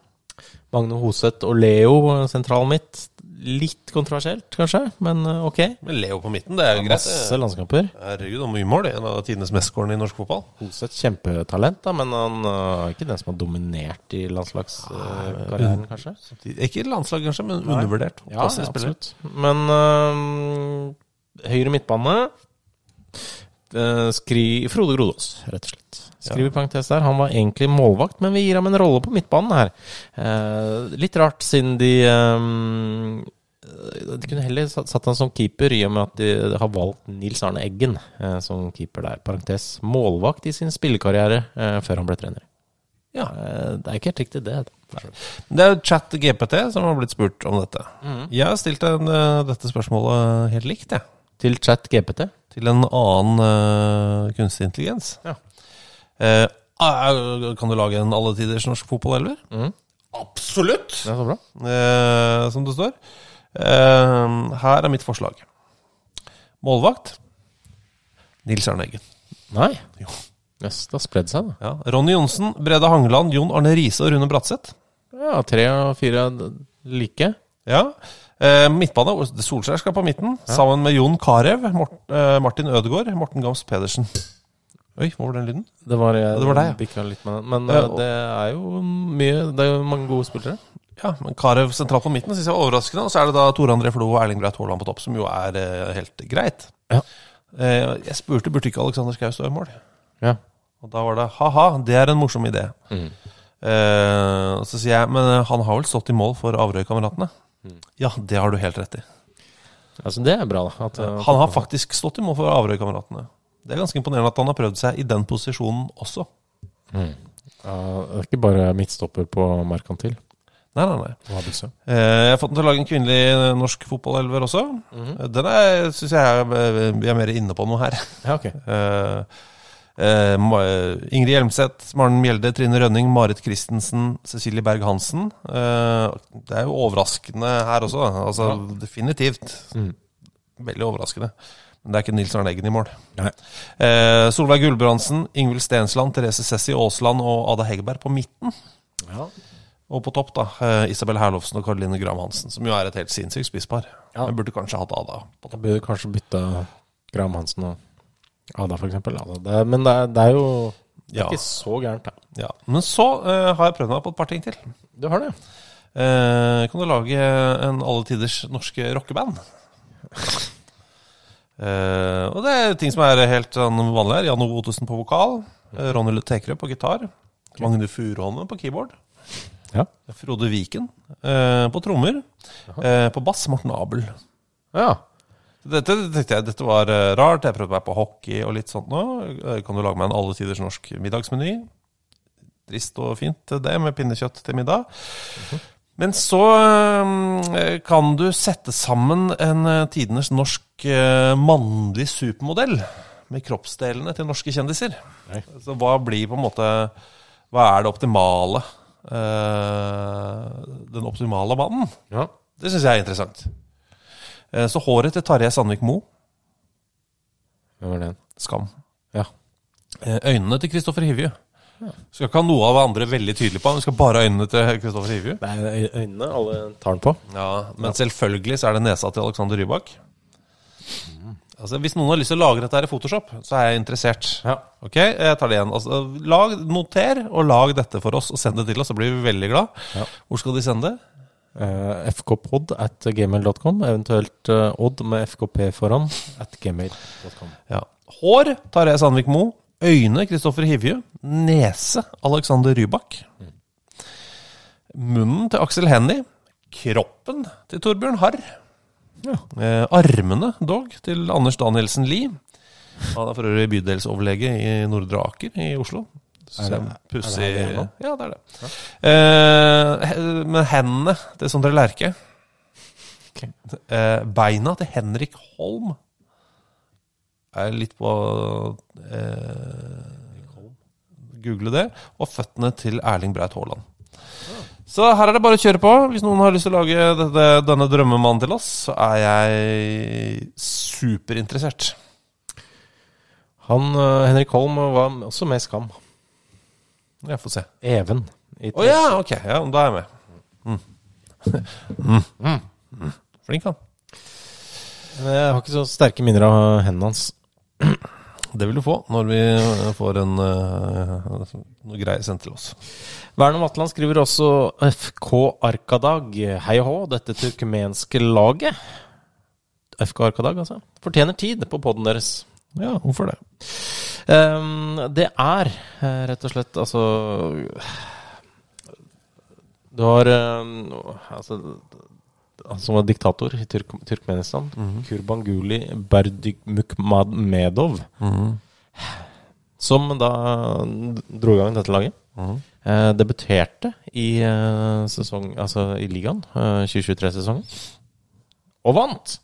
[SPEAKER 4] Magne Hoseth og Leo eh, sentral midt. Litt kontroversielt, kanskje, men eh, ok.
[SPEAKER 3] Men Leo på midten, det er jo greit.
[SPEAKER 4] Masse landskamper.
[SPEAKER 3] Herregud, det er mye mål. det er En av tidenes mestskårende i norsk fotball.
[SPEAKER 4] Hoseth kjempetalent, da, men han eh, er ikke den som har dominert i landslagskarrieren, kanskje.
[SPEAKER 3] Ikke landslag, kanskje, men undervurdert.
[SPEAKER 4] Ja,
[SPEAKER 3] Fantastisk spiller.
[SPEAKER 4] absolutt. Men øhm, høyre midtbane eh, skri, Frode Grodås, rett og slett. Skriver parentes der. Han var egentlig målvakt, men vi gir ham en rolle på midtbanen her. Eh, litt rart, siden de øhm, de kunne heller satt satt han som keeper, i og med at de har valgt Nils Arne Eggen eh, som keeper der. Parentes målvakt i sin spillekarriere eh, før han ble trener.
[SPEAKER 3] Ja.
[SPEAKER 4] Eh, det er ikke helt riktig, det. Da.
[SPEAKER 3] Det er chat
[SPEAKER 4] Mm.
[SPEAKER 3] GPT som har blitt spurt om dette. Jeg har stilt en, eh, dette spørsmålet helt likt, jeg.
[SPEAKER 4] Til ChatGPT?
[SPEAKER 3] Til en annen eh, kunstig intelligens.
[SPEAKER 4] Ja.
[SPEAKER 3] Eh, ah, kan du lage en alletiders norsk fotballelver?
[SPEAKER 4] Mm.
[SPEAKER 3] Absolutt!
[SPEAKER 4] Det er så bra.
[SPEAKER 3] Eh, som det står. Eh, her er mitt forslag. Målvakt Nils Arne Eggen.
[SPEAKER 4] Nei. Yes, det har spredd seg, da.
[SPEAKER 3] Ja. Ronny Johnsen, Brede Hangeland, Jon Arne Riise og Rune Bratseth.
[SPEAKER 4] Ja, tre og fire er like.
[SPEAKER 3] Ja. Eh, midtbane, Solskjær skal på midten, sammen med Jon Carew, Mort, eh, Martin Ødegaard, Morten Gams Pedersen. Oi, hvor var den lyden?
[SPEAKER 4] Det var, jeg,
[SPEAKER 3] Det var deg, ja.
[SPEAKER 4] bikket litt med den. Men
[SPEAKER 3] Ja,
[SPEAKER 4] eh,
[SPEAKER 3] og-
[SPEAKER 4] det er jo mye Det er jo mange gode spillere.
[SPEAKER 3] Ja, men Carew sentralt på midten synes jeg var overraskende. Og så er det da Tore André Flo og Erling Braut Haaland på topp, som jo er eh, helt greit.
[SPEAKER 4] Ja.
[SPEAKER 3] Eh, jeg spurte burde ikke Alexander Schou stå i mål.
[SPEAKER 4] Ja.
[SPEAKER 3] Og da var det ha-ha, det er en morsom idé. Eh, og så sier jeg, men eh, han har vel stått i mål for Averøy-kameratene? Ja, det har du helt rett i.
[SPEAKER 4] Altså, det er bra, da. At, eh,
[SPEAKER 3] Han har faktisk stått i mål for Averøy-kameratene. Det er ganske imponerende at han har prøvd seg i den posisjonen også.
[SPEAKER 4] ja, det er ikke bare midtstopper på Merkantil.
[SPEAKER 3] Nei, nei, nei.
[SPEAKER 4] Og Abelsø.
[SPEAKER 3] Eh, Jeg har fått den til å lage en kvinnelig eh, norsk fotballelver også. Eh, Den er- syns jeg er, eh, vi er mer inne på noe her.
[SPEAKER 4] Ja, ok.
[SPEAKER 3] Eh, eh, Ma- Ingrid Hjelmseth, Maren Mjelde, Trine Rønning, Marit Christensen, Cecilie Berg Hansen. Eh, Det er jo overraskende her også. da. Altså, Definitivt.
[SPEAKER 4] Mm.
[SPEAKER 3] Veldig overraskende. Men det er ikke Nils Arne Eggen i mål.
[SPEAKER 4] Nei.
[SPEAKER 3] Eh, Solveig Gulbrandsen, Ingvild Stensland, Therese Sessi Aasland og Ada Hegerberg på midten.
[SPEAKER 4] Ja.
[SPEAKER 3] Og på topp, da, eh, Isabel Herlovsen og Karoline Gram Hansen, som jo er et helt sinnssykt spisspar.
[SPEAKER 4] Ja.
[SPEAKER 3] Jeg burde kanskje hatt Ada på
[SPEAKER 4] Da
[SPEAKER 3] topp.
[SPEAKER 4] burde du kanskje bytte Graham Hansen og Ada, for eksempel. Ada, det, er- men det er, det er jo det er
[SPEAKER 3] Ja.
[SPEAKER 4] ikke så gærent, da.
[SPEAKER 3] Ja. Men så eh, har jeg prøvd meg på et par ting til.
[SPEAKER 4] Du har det.
[SPEAKER 3] Eh, kan du lage en alle tiders norske rockeband? Eh, og det er ting som er helt sånn vanlig her. Jan Ove Ottesen på vokal. eh, Ronny Tekerød på gitar. Magne Furuholmen på keyboard.
[SPEAKER 4] Ja.
[SPEAKER 3] Frode Viken eh, på trommer. Eh, på bass Morten Abel.
[SPEAKER 4] ja.
[SPEAKER 3] Dette tenkte jeg dette var eh, rart. Jeg prøvde meg på hockey og litt sånt nå. Eh, Kan du lage meg en alle tiders norsk middagsmeny? Trist og fint, eh, det, med pinnekjøtt til middag. Men så eh, kan du sette sammen en eh, tidenes norsk eh, mannlig supermodell med kroppsdelene til norske kjendiser. Så hva blir på en måte Hva er det optimale? eh, den optimale mannen?
[SPEAKER 4] Ja.
[SPEAKER 3] Det syns jeg er interessant. Eh, Så håret til Tarjei Sandvik Mo
[SPEAKER 4] Hvem var den?
[SPEAKER 3] Skam.
[SPEAKER 4] Ja.
[SPEAKER 3] Eh, Øynene til Kristoffer Hivju. Skal ikke ha noe av det andre veldig tydelig på. Vi skal bare ha øynene til Kristoffer Hivju.
[SPEAKER 4] Det er øy- øynene alle tar den på.
[SPEAKER 3] Ja, men selvfølgelig så er det nesa til Alexander Rybak. Altså, hvis noen har lyst til å lagre dette her i Photoshop, så er jeg interessert.
[SPEAKER 4] Ja.
[SPEAKER 3] Ok, jeg tar det igjen. Altså, lag, noter og lag dette for oss, og send det til oss, så blir vi veldig glad. Hvor skal de sende det?
[SPEAKER 4] Eh, fkpod at gmail.com, eventuelt eh, Odd med fkp foran at gmail.com.
[SPEAKER 3] Ja. Hår Tarjei Sandvik Mo. Øyne Kristoffer Hivju. Nese Alexander Rybak. Munnen til Aksel Hennie. Kroppen til Torbjørn Harr. Eh, armene, dog, til Anders Danielsen Lie. Han er for øvrig bydelsoverlege i Nordre Aker i Oslo. Så
[SPEAKER 4] det-
[SPEAKER 3] pussig
[SPEAKER 4] er det han vi er nå?
[SPEAKER 3] Ja, det er det. Eh, he- med hendene til Sondre Lerche. Eh, beina til Henrik Holm er litt på eh, Google det. Og føttene til Erling Braut Haaland. Så her er det bare å kjøre på. Hvis noen har lyst til å lage dette, denne drømmemannen til oss, så er jeg superinteressert.
[SPEAKER 4] Han, eh, Henrik Holm var også med i Skam.
[SPEAKER 3] Jeg får se.
[SPEAKER 4] Even. i
[SPEAKER 3] Å ja, ok. Ja, da er jeg med. Mm. Mm. Mm. Flink, han.
[SPEAKER 4] Men Jeg har ikke så sterke minner av hendene hans.
[SPEAKER 3] Det vil du få når vi får en eh, noe greier sendt til oss.
[SPEAKER 4] Werner Vatland skriver også FK Arkadag. Hei og hå, dette turkmenske laget FK Arkadag, altså. Fortjener tid på podden deres.
[SPEAKER 3] Ja, hvorfor det?
[SPEAKER 4] Ehm, det er eh, rett og slett altså Du har ehm, altså, han som var diktator i Turk Turkmenistan,
[SPEAKER 3] Mhm.
[SPEAKER 4] Kurbanguli Berdymukmedov, som da dro i gang dette laget. Eh, debuterte i, eh, sesong, altså, i ligaen, eh, 2023-sesongen, og vant!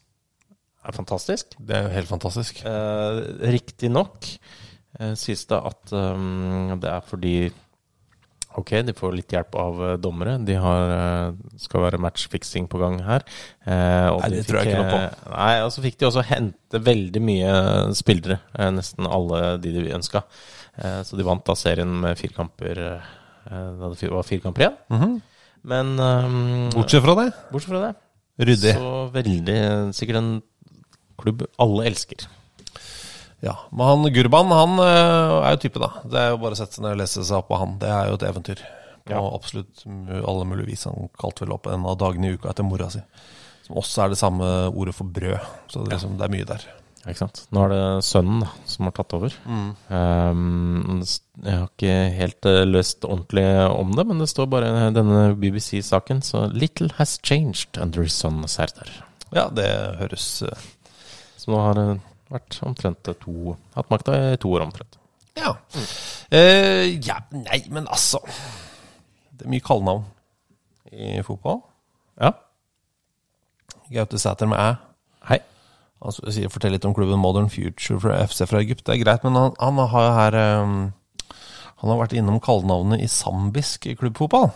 [SPEAKER 4] er fantastisk.
[SPEAKER 3] Det er jo helt fantastisk.
[SPEAKER 4] Eh, Riktignok eh, sies det at eh, det er fordi Ok, de får litt hjelp av eh, dommere. De har, eh, skal være matchfixing på gang her. Eh, og
[SPEAKER 3] Nei,
[SPEAKER 4] de
[SPEAKER 3] det tror jeg
[SPEAKER 4] fikk,
[SPEAKER 3] ikke noe på.
[SPEAKER 4] eh, Nei, og så fikk de også hente veldig mye spillere. eh, Nesten alle de de ønska. Eh, så de vant da serien med fire kamper eh, da det fi- var fire kamper igjen.
[SPEAKER 3] Mhm.
[SPEAKER 4] Men eh,
[SPEAKER 3] Bortsett fra det.
[SPEAKER 4] Bortsett fra det.
[SPEAKER 3] Ryddig.
[SPEAKER 4] Så veldig eh, sikkert en klubb alle elsker.
[SPEAKER 3] Ja, Men han Gurban han eh, er jo type, da. Det er jo bare å sette seg ned og lese seg opp på han. Det er jo et eventyr. På absolutt mu- alle mulige vis. Han kalte vel opp en av dagene i uka etter mora si. Som også er det samme ordet for brød. Så det er, liksom, det er mye der.
[SPEAKER 4] Ja, Ikke sant? Nå er det sønnen da, som har tatt over.
[SPEAKER 3] Mm.
[SPEAKER 4] Ehm, s- jeg har ikke helt eh, løst ordentlig om det, men det står bare denne BBC-saken. Så 'Little has changed under son Serdar'.
[SPEAKER 3] Ja, det høres eh,
[SPEAKER 4] Så nå har det vært omtrent to Hatt makta i to år omtrent.
[SPEAKER 3] Ja. Eh, ja. Nei, men altså Det er mye kallenavn i fotball.
[SPEAKER 4] Ja.
[SPEAKER 3] Gaute Sæter med æ.
[SPEAKER 4] Hei.
[SPEAKER 3] Han s- Altså, sier, fortell litt om klubben Modern Future fra FC fra Egypt. Det er greit, men han, han har jo her ehm, Han har vært innom kallenavnet i zambisk klubbfotball.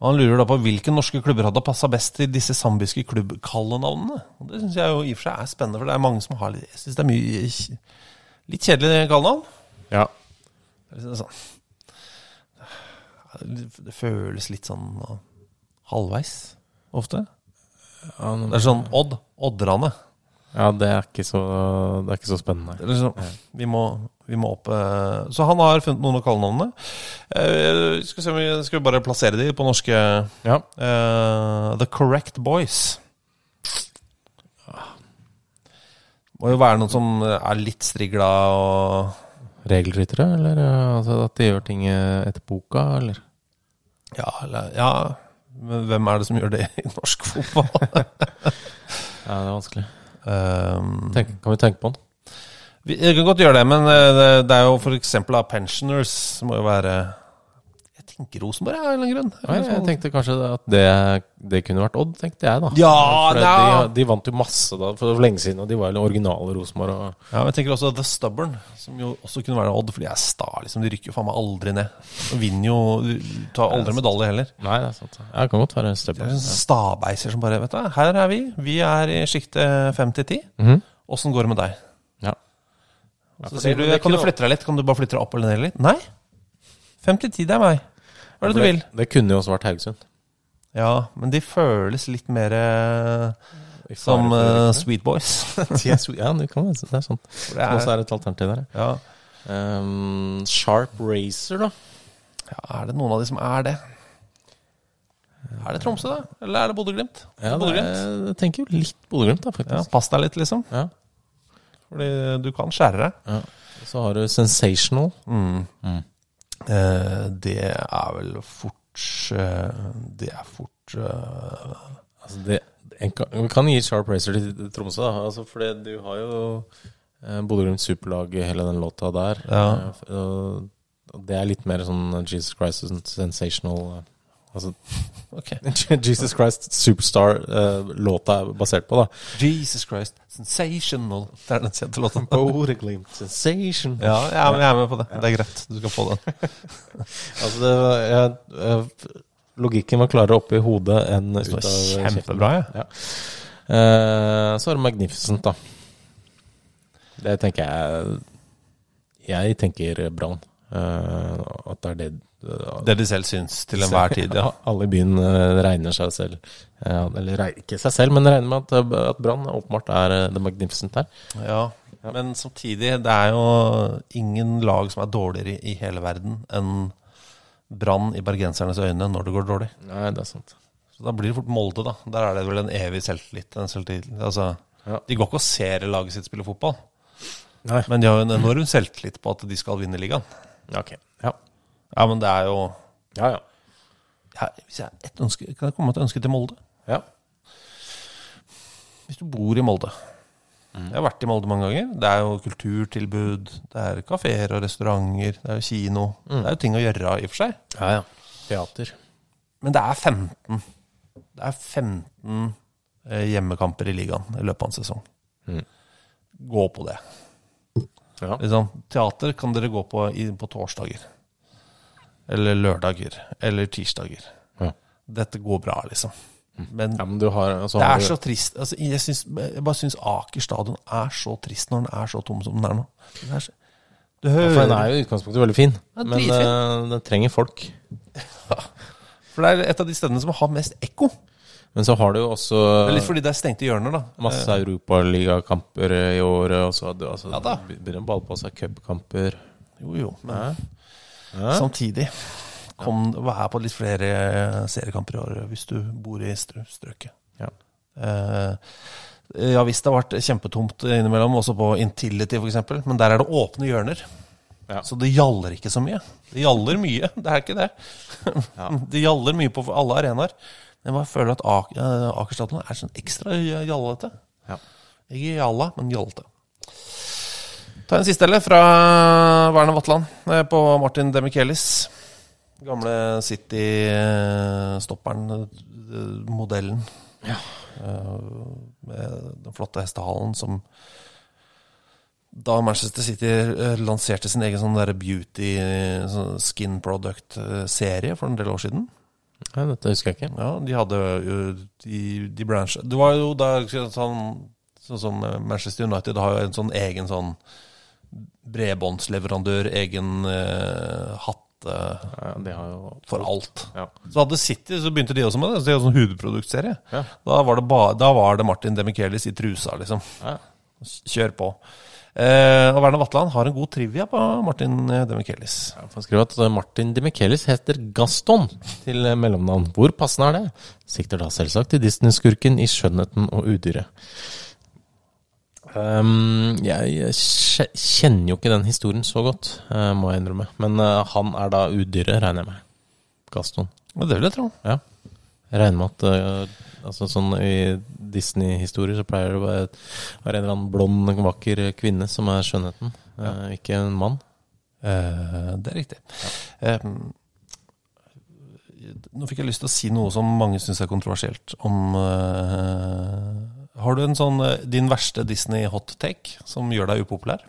[SPEAKER 3] Og han lurer da på hvilke norske klubber hadde passa best til disse zambiske klubbkallenavnene. Og Det syns jeg jo i og for seg er spennende, for det er mange som har litt Jeg syns det er mye kj- litt kjedelige kallenavn.
[SPEAKER 4] Ja.
[SPEAKER 3] Det er liksom sånn- Det føles litt sånn uh, halvveis ofte.
[SPEAKER 4] nå-
[SPEAKER 3] Det er sånn Odd. Oddrane.
[SPEAKER 4] Ja, det er ikke så, det er ikke så spennende.
[SPEAKER 3] Det er liksom, vi, må, vi må opp eh, Så han har funnet noen av kallenavnene. Eh, Skal, vi se om vi, skal vi bare plassere de på norske
[SPEAKER 4] Ja.
[SPEAKER 3] eh, The Correct Boys. Må jo være noen som er litt strigla og
[SPEAKER 4] Regelryttere, eller eh, altså, at de gjør ting eh, etter boka, eller?
[SPEAKER 3] ja, eller, ja, men hvem er det som gjør det i norsk fotball?
[SPEAKER 4] Ja, det er vanskelig.
[SPEAKER 3] um,
[SPEAKER 4] Tenk, kan vi tenke på den?
[SPEAKER 3] Vi jeg kan godt gjøre det, men eh, det, det er jo for eksempel da, Pensioners som må jo være Jeg tenker Rosenborg ja, av en eller annen grunn.
[SPEAKER 4] Nei, jeg tenkte kanskje at det, det kunne vært Odd, tenkte jeg da.
[SPEAKER 3] Ja,
[SPEAKER 4] For
[SPEAKER 3] ja.
[SPEAKER 4] de, de vant jo masse da for lenge siden, og de var jo originale Rosenborg. og-
[SPEAKER 3] Ja, men jeg tenker også The Stubborn, som jo også kunne være Odd, for de er sta. liksom De rykker jo faen meg aldri ned. Og vinner jo de Tar aldri medalje heller.
[SPEAKER 4] Nei, det er sant. Ja, det kan godt være
[SPEAKER 3] Det
[SPEAKER 4] Stubborn.
[SPEAKER 3] er sånne stabeiser som bare Vet du, her er vi. Vi er i sjiktet fem til ti.
[SPEAKER 4] Mhm.
[SPEAKER 3] Åssen går det med deg?
[SPEAKER 4] Ja.
[SPEAKER 3] Og
[SPEAKER 4] for
[SPEAKER 3] Så sier
[SPEAKER 4] det-
[SPEAKER 3] du
[SPEAKER 4] det
[SPEAKER 3] Kan du
[SPEAKER 4] kunne-
[SPEAKER 3] flytte deg litt? Kan du bare flytte deg opp eller ned litt? Nei. Fem til ti, det er meg. Hva er det du vil?
[SPEAKER 4] Det kunne jo også vært Haugesund.
[SPEAKER 3] Ja, men de føles litt mer eh,
[SPEAKER 4] I
[SPEAKER 3] Som
[SPEAKER 4] fare for
[SPEAKER 3] eh,
[SPEAKER 4] det.
[SPEAKER 3] Sweet Boys.
[SPEAKER 4] De er sweet. Ja, det kan være det er sant.
[SPEAKER 3] det er-
[SPEAKER 4] Og så er det et alternativ der.
[SPEAKER 3] ja.
[SPEAKER 4] ja. Ehm, Sharp Racer, da.
[SPEAKER 3] ja, er det noen av de som er det? Er det Tromsø, da? Eller er det Bodø-Glimt?
[SPEAKER 4] Ja, det
[SPEAKER 3] Bodø-Glimt.
[SPEAKER 4] er, jeg tenker jo litt Bodø-Glimt, da,
[SPEAKER 3] Ja,
[SPEAKER 4] faktisk.
[SPEAKER 3] pass deg litt, liksom.
[SPEAKER 4] Ja.
[SPEAKER 3] Fordi du kan skjære deg.
[SPEAKER 4] Ja. Så har du Sensational.
[SPEAKER 3] Eh, det er vel fort eh, Det er fort eh,
[SPEAKER 4] Altså det, en kan, vi kan gi Sharp Racer til Tromsø, da. Altså for det, du har jo eh, Bodø Glimt Superlag, hele den låta der.
[SPEAKER 3] Ja.
[SPEAKER 4] Eh, og- og det er litt mer sånn Jesus Christ is sensational eh, Altså
[SPEAKER 3] Ok.
[SPEAKER 4] Jesus Christ Superstar-låta er basert på, da.
[SPEAKER 3] Jesus Christ, sensational. Det er den kjente låten.
[SPEAKER 4] Bodø-Glimt sensation.
[SPEAKER 3] Ja, jeg er, jeg er med på det. Det er greit. Du skal få den.
[SPEAKER 4] Altså, det, var- jeg, jeg, logikken var klarere oppe i hodet enn ut
[SPEAKER 3] Det
[SPEAKER 4] av
[SPEAKER 3] var
[SPEAKER 4] kjeften.
[SPEAKER 3] kjempebra, jeg.
[SPEAKER 4] Ja. Eh, så er det Magnificent, da. Det tenker jeg Jeg tenker Brann. Eh, at det er det
[SPEAKER 3] Det de selv syns til enhver tid. Ja.
[SPEAKER 4] Alle i byen eh, regner seg selv eh, Eller reg- ikke seg selv, men regner med at, eh, at Brann åpenbart er eh, The Magnificent her.
[SPEAKER 3] Ja, men samtidig, det er jo ingen lag som er dårligere i hele verden enn Brann i bergensernes øyne når det går dårlig.
[SPEAKER 4] Nei, det er sant.
[SPEAKER 3] Så Da blir det fort Molde, da. Der er det vel en evig selvtillit. En selvtillit. Altså,
[SPEAKER 4] Ja.
[SPEAKER 3] De går ikke og ser laget sitt spille fotball,
[SPEAKER 4] Nei.
[SPEAKER 3] men de har jo en enorm selvtillit på at de skal vinne ligaen.
[SPEAKER 4] Ok. Ja.
[SPEAKER 3] Ja, men det er jo
[SPEAKER 4] Ja, ja.
[SPEAKER 3] ja, hvis jeg har et ønske, Kan jeg komme med et ønske til Molde?
[SPEAKER 4] ja.
[SPEAKER 3] Hvis du bor i Molde
[SPEAKER 4] Mm.
[SPEAKER 3] Jeg har vært i Molde mange ganger. Det er jo kulturtilbud, det er kafeer og restauranter, det er jo kino. Det er jo ting å gjøre i og for seg.
[SPEAKER 4] Mm. ja, ja. Teater.
[SPEAKER 3] Men det er 15. Det er 15 eh, hjemmekamper i ligaen i løpet av en sesong.
[SPEAKER 4] Mm.
[SPEAKER 3] Gå på det. Liksom, teater kan dere gå på i, på torsdager. Eller lørdager. Eller tirsdager.
[SPEAKER 4] Ja.
[SPEAKER 3] Dette går bra, liksom. Men,
[SPEAKER 4] du har, altså,
[SPEAKER 3] det
[SPEAKER 4] har
[SPEAKER 3] er
[SPEAKER 4] du-
[SPEAKER 3] så trist. Altså, jeg, syns- jeg bare syns Aker stadion er så trist når den er så tom som den er nå. Den er så, du
[SPEAKER 4] Ja,
[SPEAKER 3] hører
[SPEAKER 4] for den er jo i utgangspunktet veldig fin,
[SPEAKER 3] Ja,
[SPEAKER 4] men
[SPEAKER 3] dritfin.
[SPEAKER 4] eh, den trenger folk.
[SPEAKER 3] For det er et av de stedene som har mest ekko.
[SPEAKER 4] Men så har du jo også
[SPEAKER 3] Det er litt fordi det er stengte hjørner, da.
[SPEAKER 4] masse
[SPEAKER 3] Eh,
[SPEAKER 4] europaligakamper i året, og så har du altså,
[SPEAKER 3] Ja da.
[SPEAKER 4] begynner å balle på seg cupkamper.
[SPEAKER 3] Jo, jo. Men
[SPEAKER 4] Ja.
[SPEAKER 3] samtidig kom, vær på litt flere eh, seriekamper i år hvis du bor i strø strøket.
[SPEAKER 4] Ja.
[SPEAKER 3] Eh, ja visst det har vært kjempetomt innimellom, også på Intility f.eks., men der er det åpne hjørner.
[SPEAKER 4] Ja.
[SPEAKER 3] Så det gjaller ikke så mye. Det gjaller mye, det er ikke det. Det gjaller mye på alle arenaer. Men jeg bare føler at Ak- eh, Akerstadion er sånn ekstra gjallete.
[SPEAKER 4] Ja.
[SPEAKER 3] Ikke jalla, men gjallete. Ta en siste, eller? Fra Werner Vatland eh, på Martin Demichelis. Gamle City-stopperen, eh, modellen. Eh, Med den flotte hestehalen som da Manchester City eh, lanserte sin egen sånn der beauty eh, sånn skin product-serie for en del år siden
[SPEAKER 4] Nei, dette husker jeg ikke.
[SPEAKER 3] Ja, de hadde jo de, de bransje Det var jo da sånn, sånn som Manchester United har jo en sånn egen sånn bredbåndsleverandør, egen eh, hatt eh,
[SPEAKER 4] Ja, det har jo
[SPEAKER 3] for alt.
[SPEAKER 4] Ja.
[SPEAKER 3] Så hadde City, så begynte de også med det. Så de hadde sånn hudproduktserie.
[SPEAKER 4] Ja.
[SPEAKER 3] Da, var det ba, da var det Martin Demichelis i trusa, liksom.
[SPEAKER 4] Ja.
[SPEAKER 3] Kjør på. Eh, og Werner Vatland har en god trivia på Martin eh, Demichelis.
[SPEAKER 4] Jeg får skrive at eh, Martin de Michelis heter Gaston til eh, mellomnavn. Hvor passende er det? Sikter da selvsagt til Disney-skurken i 'Skjønnheten og udyret'. Ehm, jeg kje- kjenner jo ikke den historien så godt, eh, må jeg innrømme. Men eh, han er da udyret, regner jeg med. Gaston.
[SPEAKER 3] Og det vil jeg tro.
[SPEAKER 4] Ja. Jeg regner med at eh, altså, sånn i Disney-historier så pleier det å være å være en eller annen blond, vakker kvinne som er skjønnheten, eh, ikke en mann.
[SPEAKER 3] Eh, det er riktig. Eh, nå fikk jeg lyst til å si noe som mange syns er kontroversielt, om eh, Har du en sånn eh, din verste Disney-hot take som gjør deg upopulær?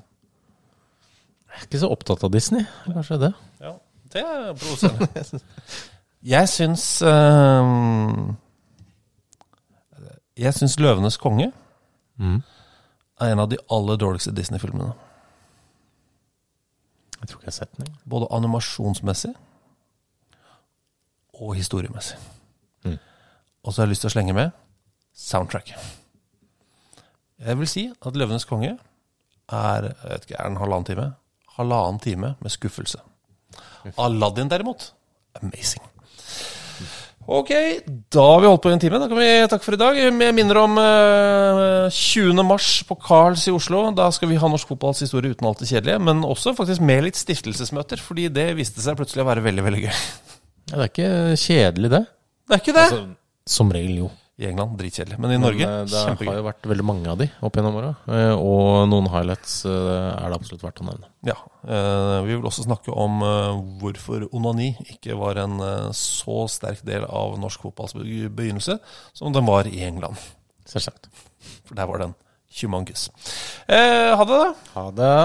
[SPEAKER 4] Jeg er ikke så opptatt av Disney, kanskje det.
[SPEAKER 3] Ja, det er provoserende. jeg syns ehm, Jeg syns 'Løvenes konge' er en av de aller dårligste Disney-filmene.
[SPEAKER 4] Jeg tror ikke jeg har sett den. jeg.
[SPEAKER 3] Både animasjonsmessig og historiemessig.
[SPEAKER 4] Mm.
[SPEAKER 3] Og så har jeg lyst til å slenge med soundtrack. Jeg vil si at 'Løvenes konge' er, jeg vet ikke, er en halvannen time. Halvannen time med skuffelse. Aladdin derimot, amazing. Ok, da har vi holdt på i en time. Da kan vi takke for i dag. Jeg minner om eh, 20. mars på Carls i Oslo. Da skal vi ha norsk fotballs historie uten alt det kjedelige, men også faktisk med litt stiftelsesmøter, fordi det viste seg plutselig å være veldig, veldig gøy.
[SPEAKER 4] Ja, det er ikke kjedelig, det.
[SPEAKER 3] Det er ikke det!
[SPEAKER 4] Som regel, jo.
[SPEAKER 3] I England dritkjedelig, men i Norge
[SPEAKER 4] Altså, Men, eh, det har
[SPEAKER 3] kjempegøy.
[SPEAKER 4] jo vært veldig mange av de opp gjennom åra. eh, Og noen highlights eh, er det absolutt verdt å nevne.
[SPEAKER 3] Ja, eh, Vi vil også snakke om eh, hvorfor onani ikke var en eh, så sterk del av norsk fotballs be- begynnelse som den var i England.
[SPEAKER 4] Selvsagt.
[SPEAKER 3] For der var den humangus. Eh, ha det, da.
[SPEAKER 4] Ha det.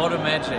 [SPEAKER 9] What a magic.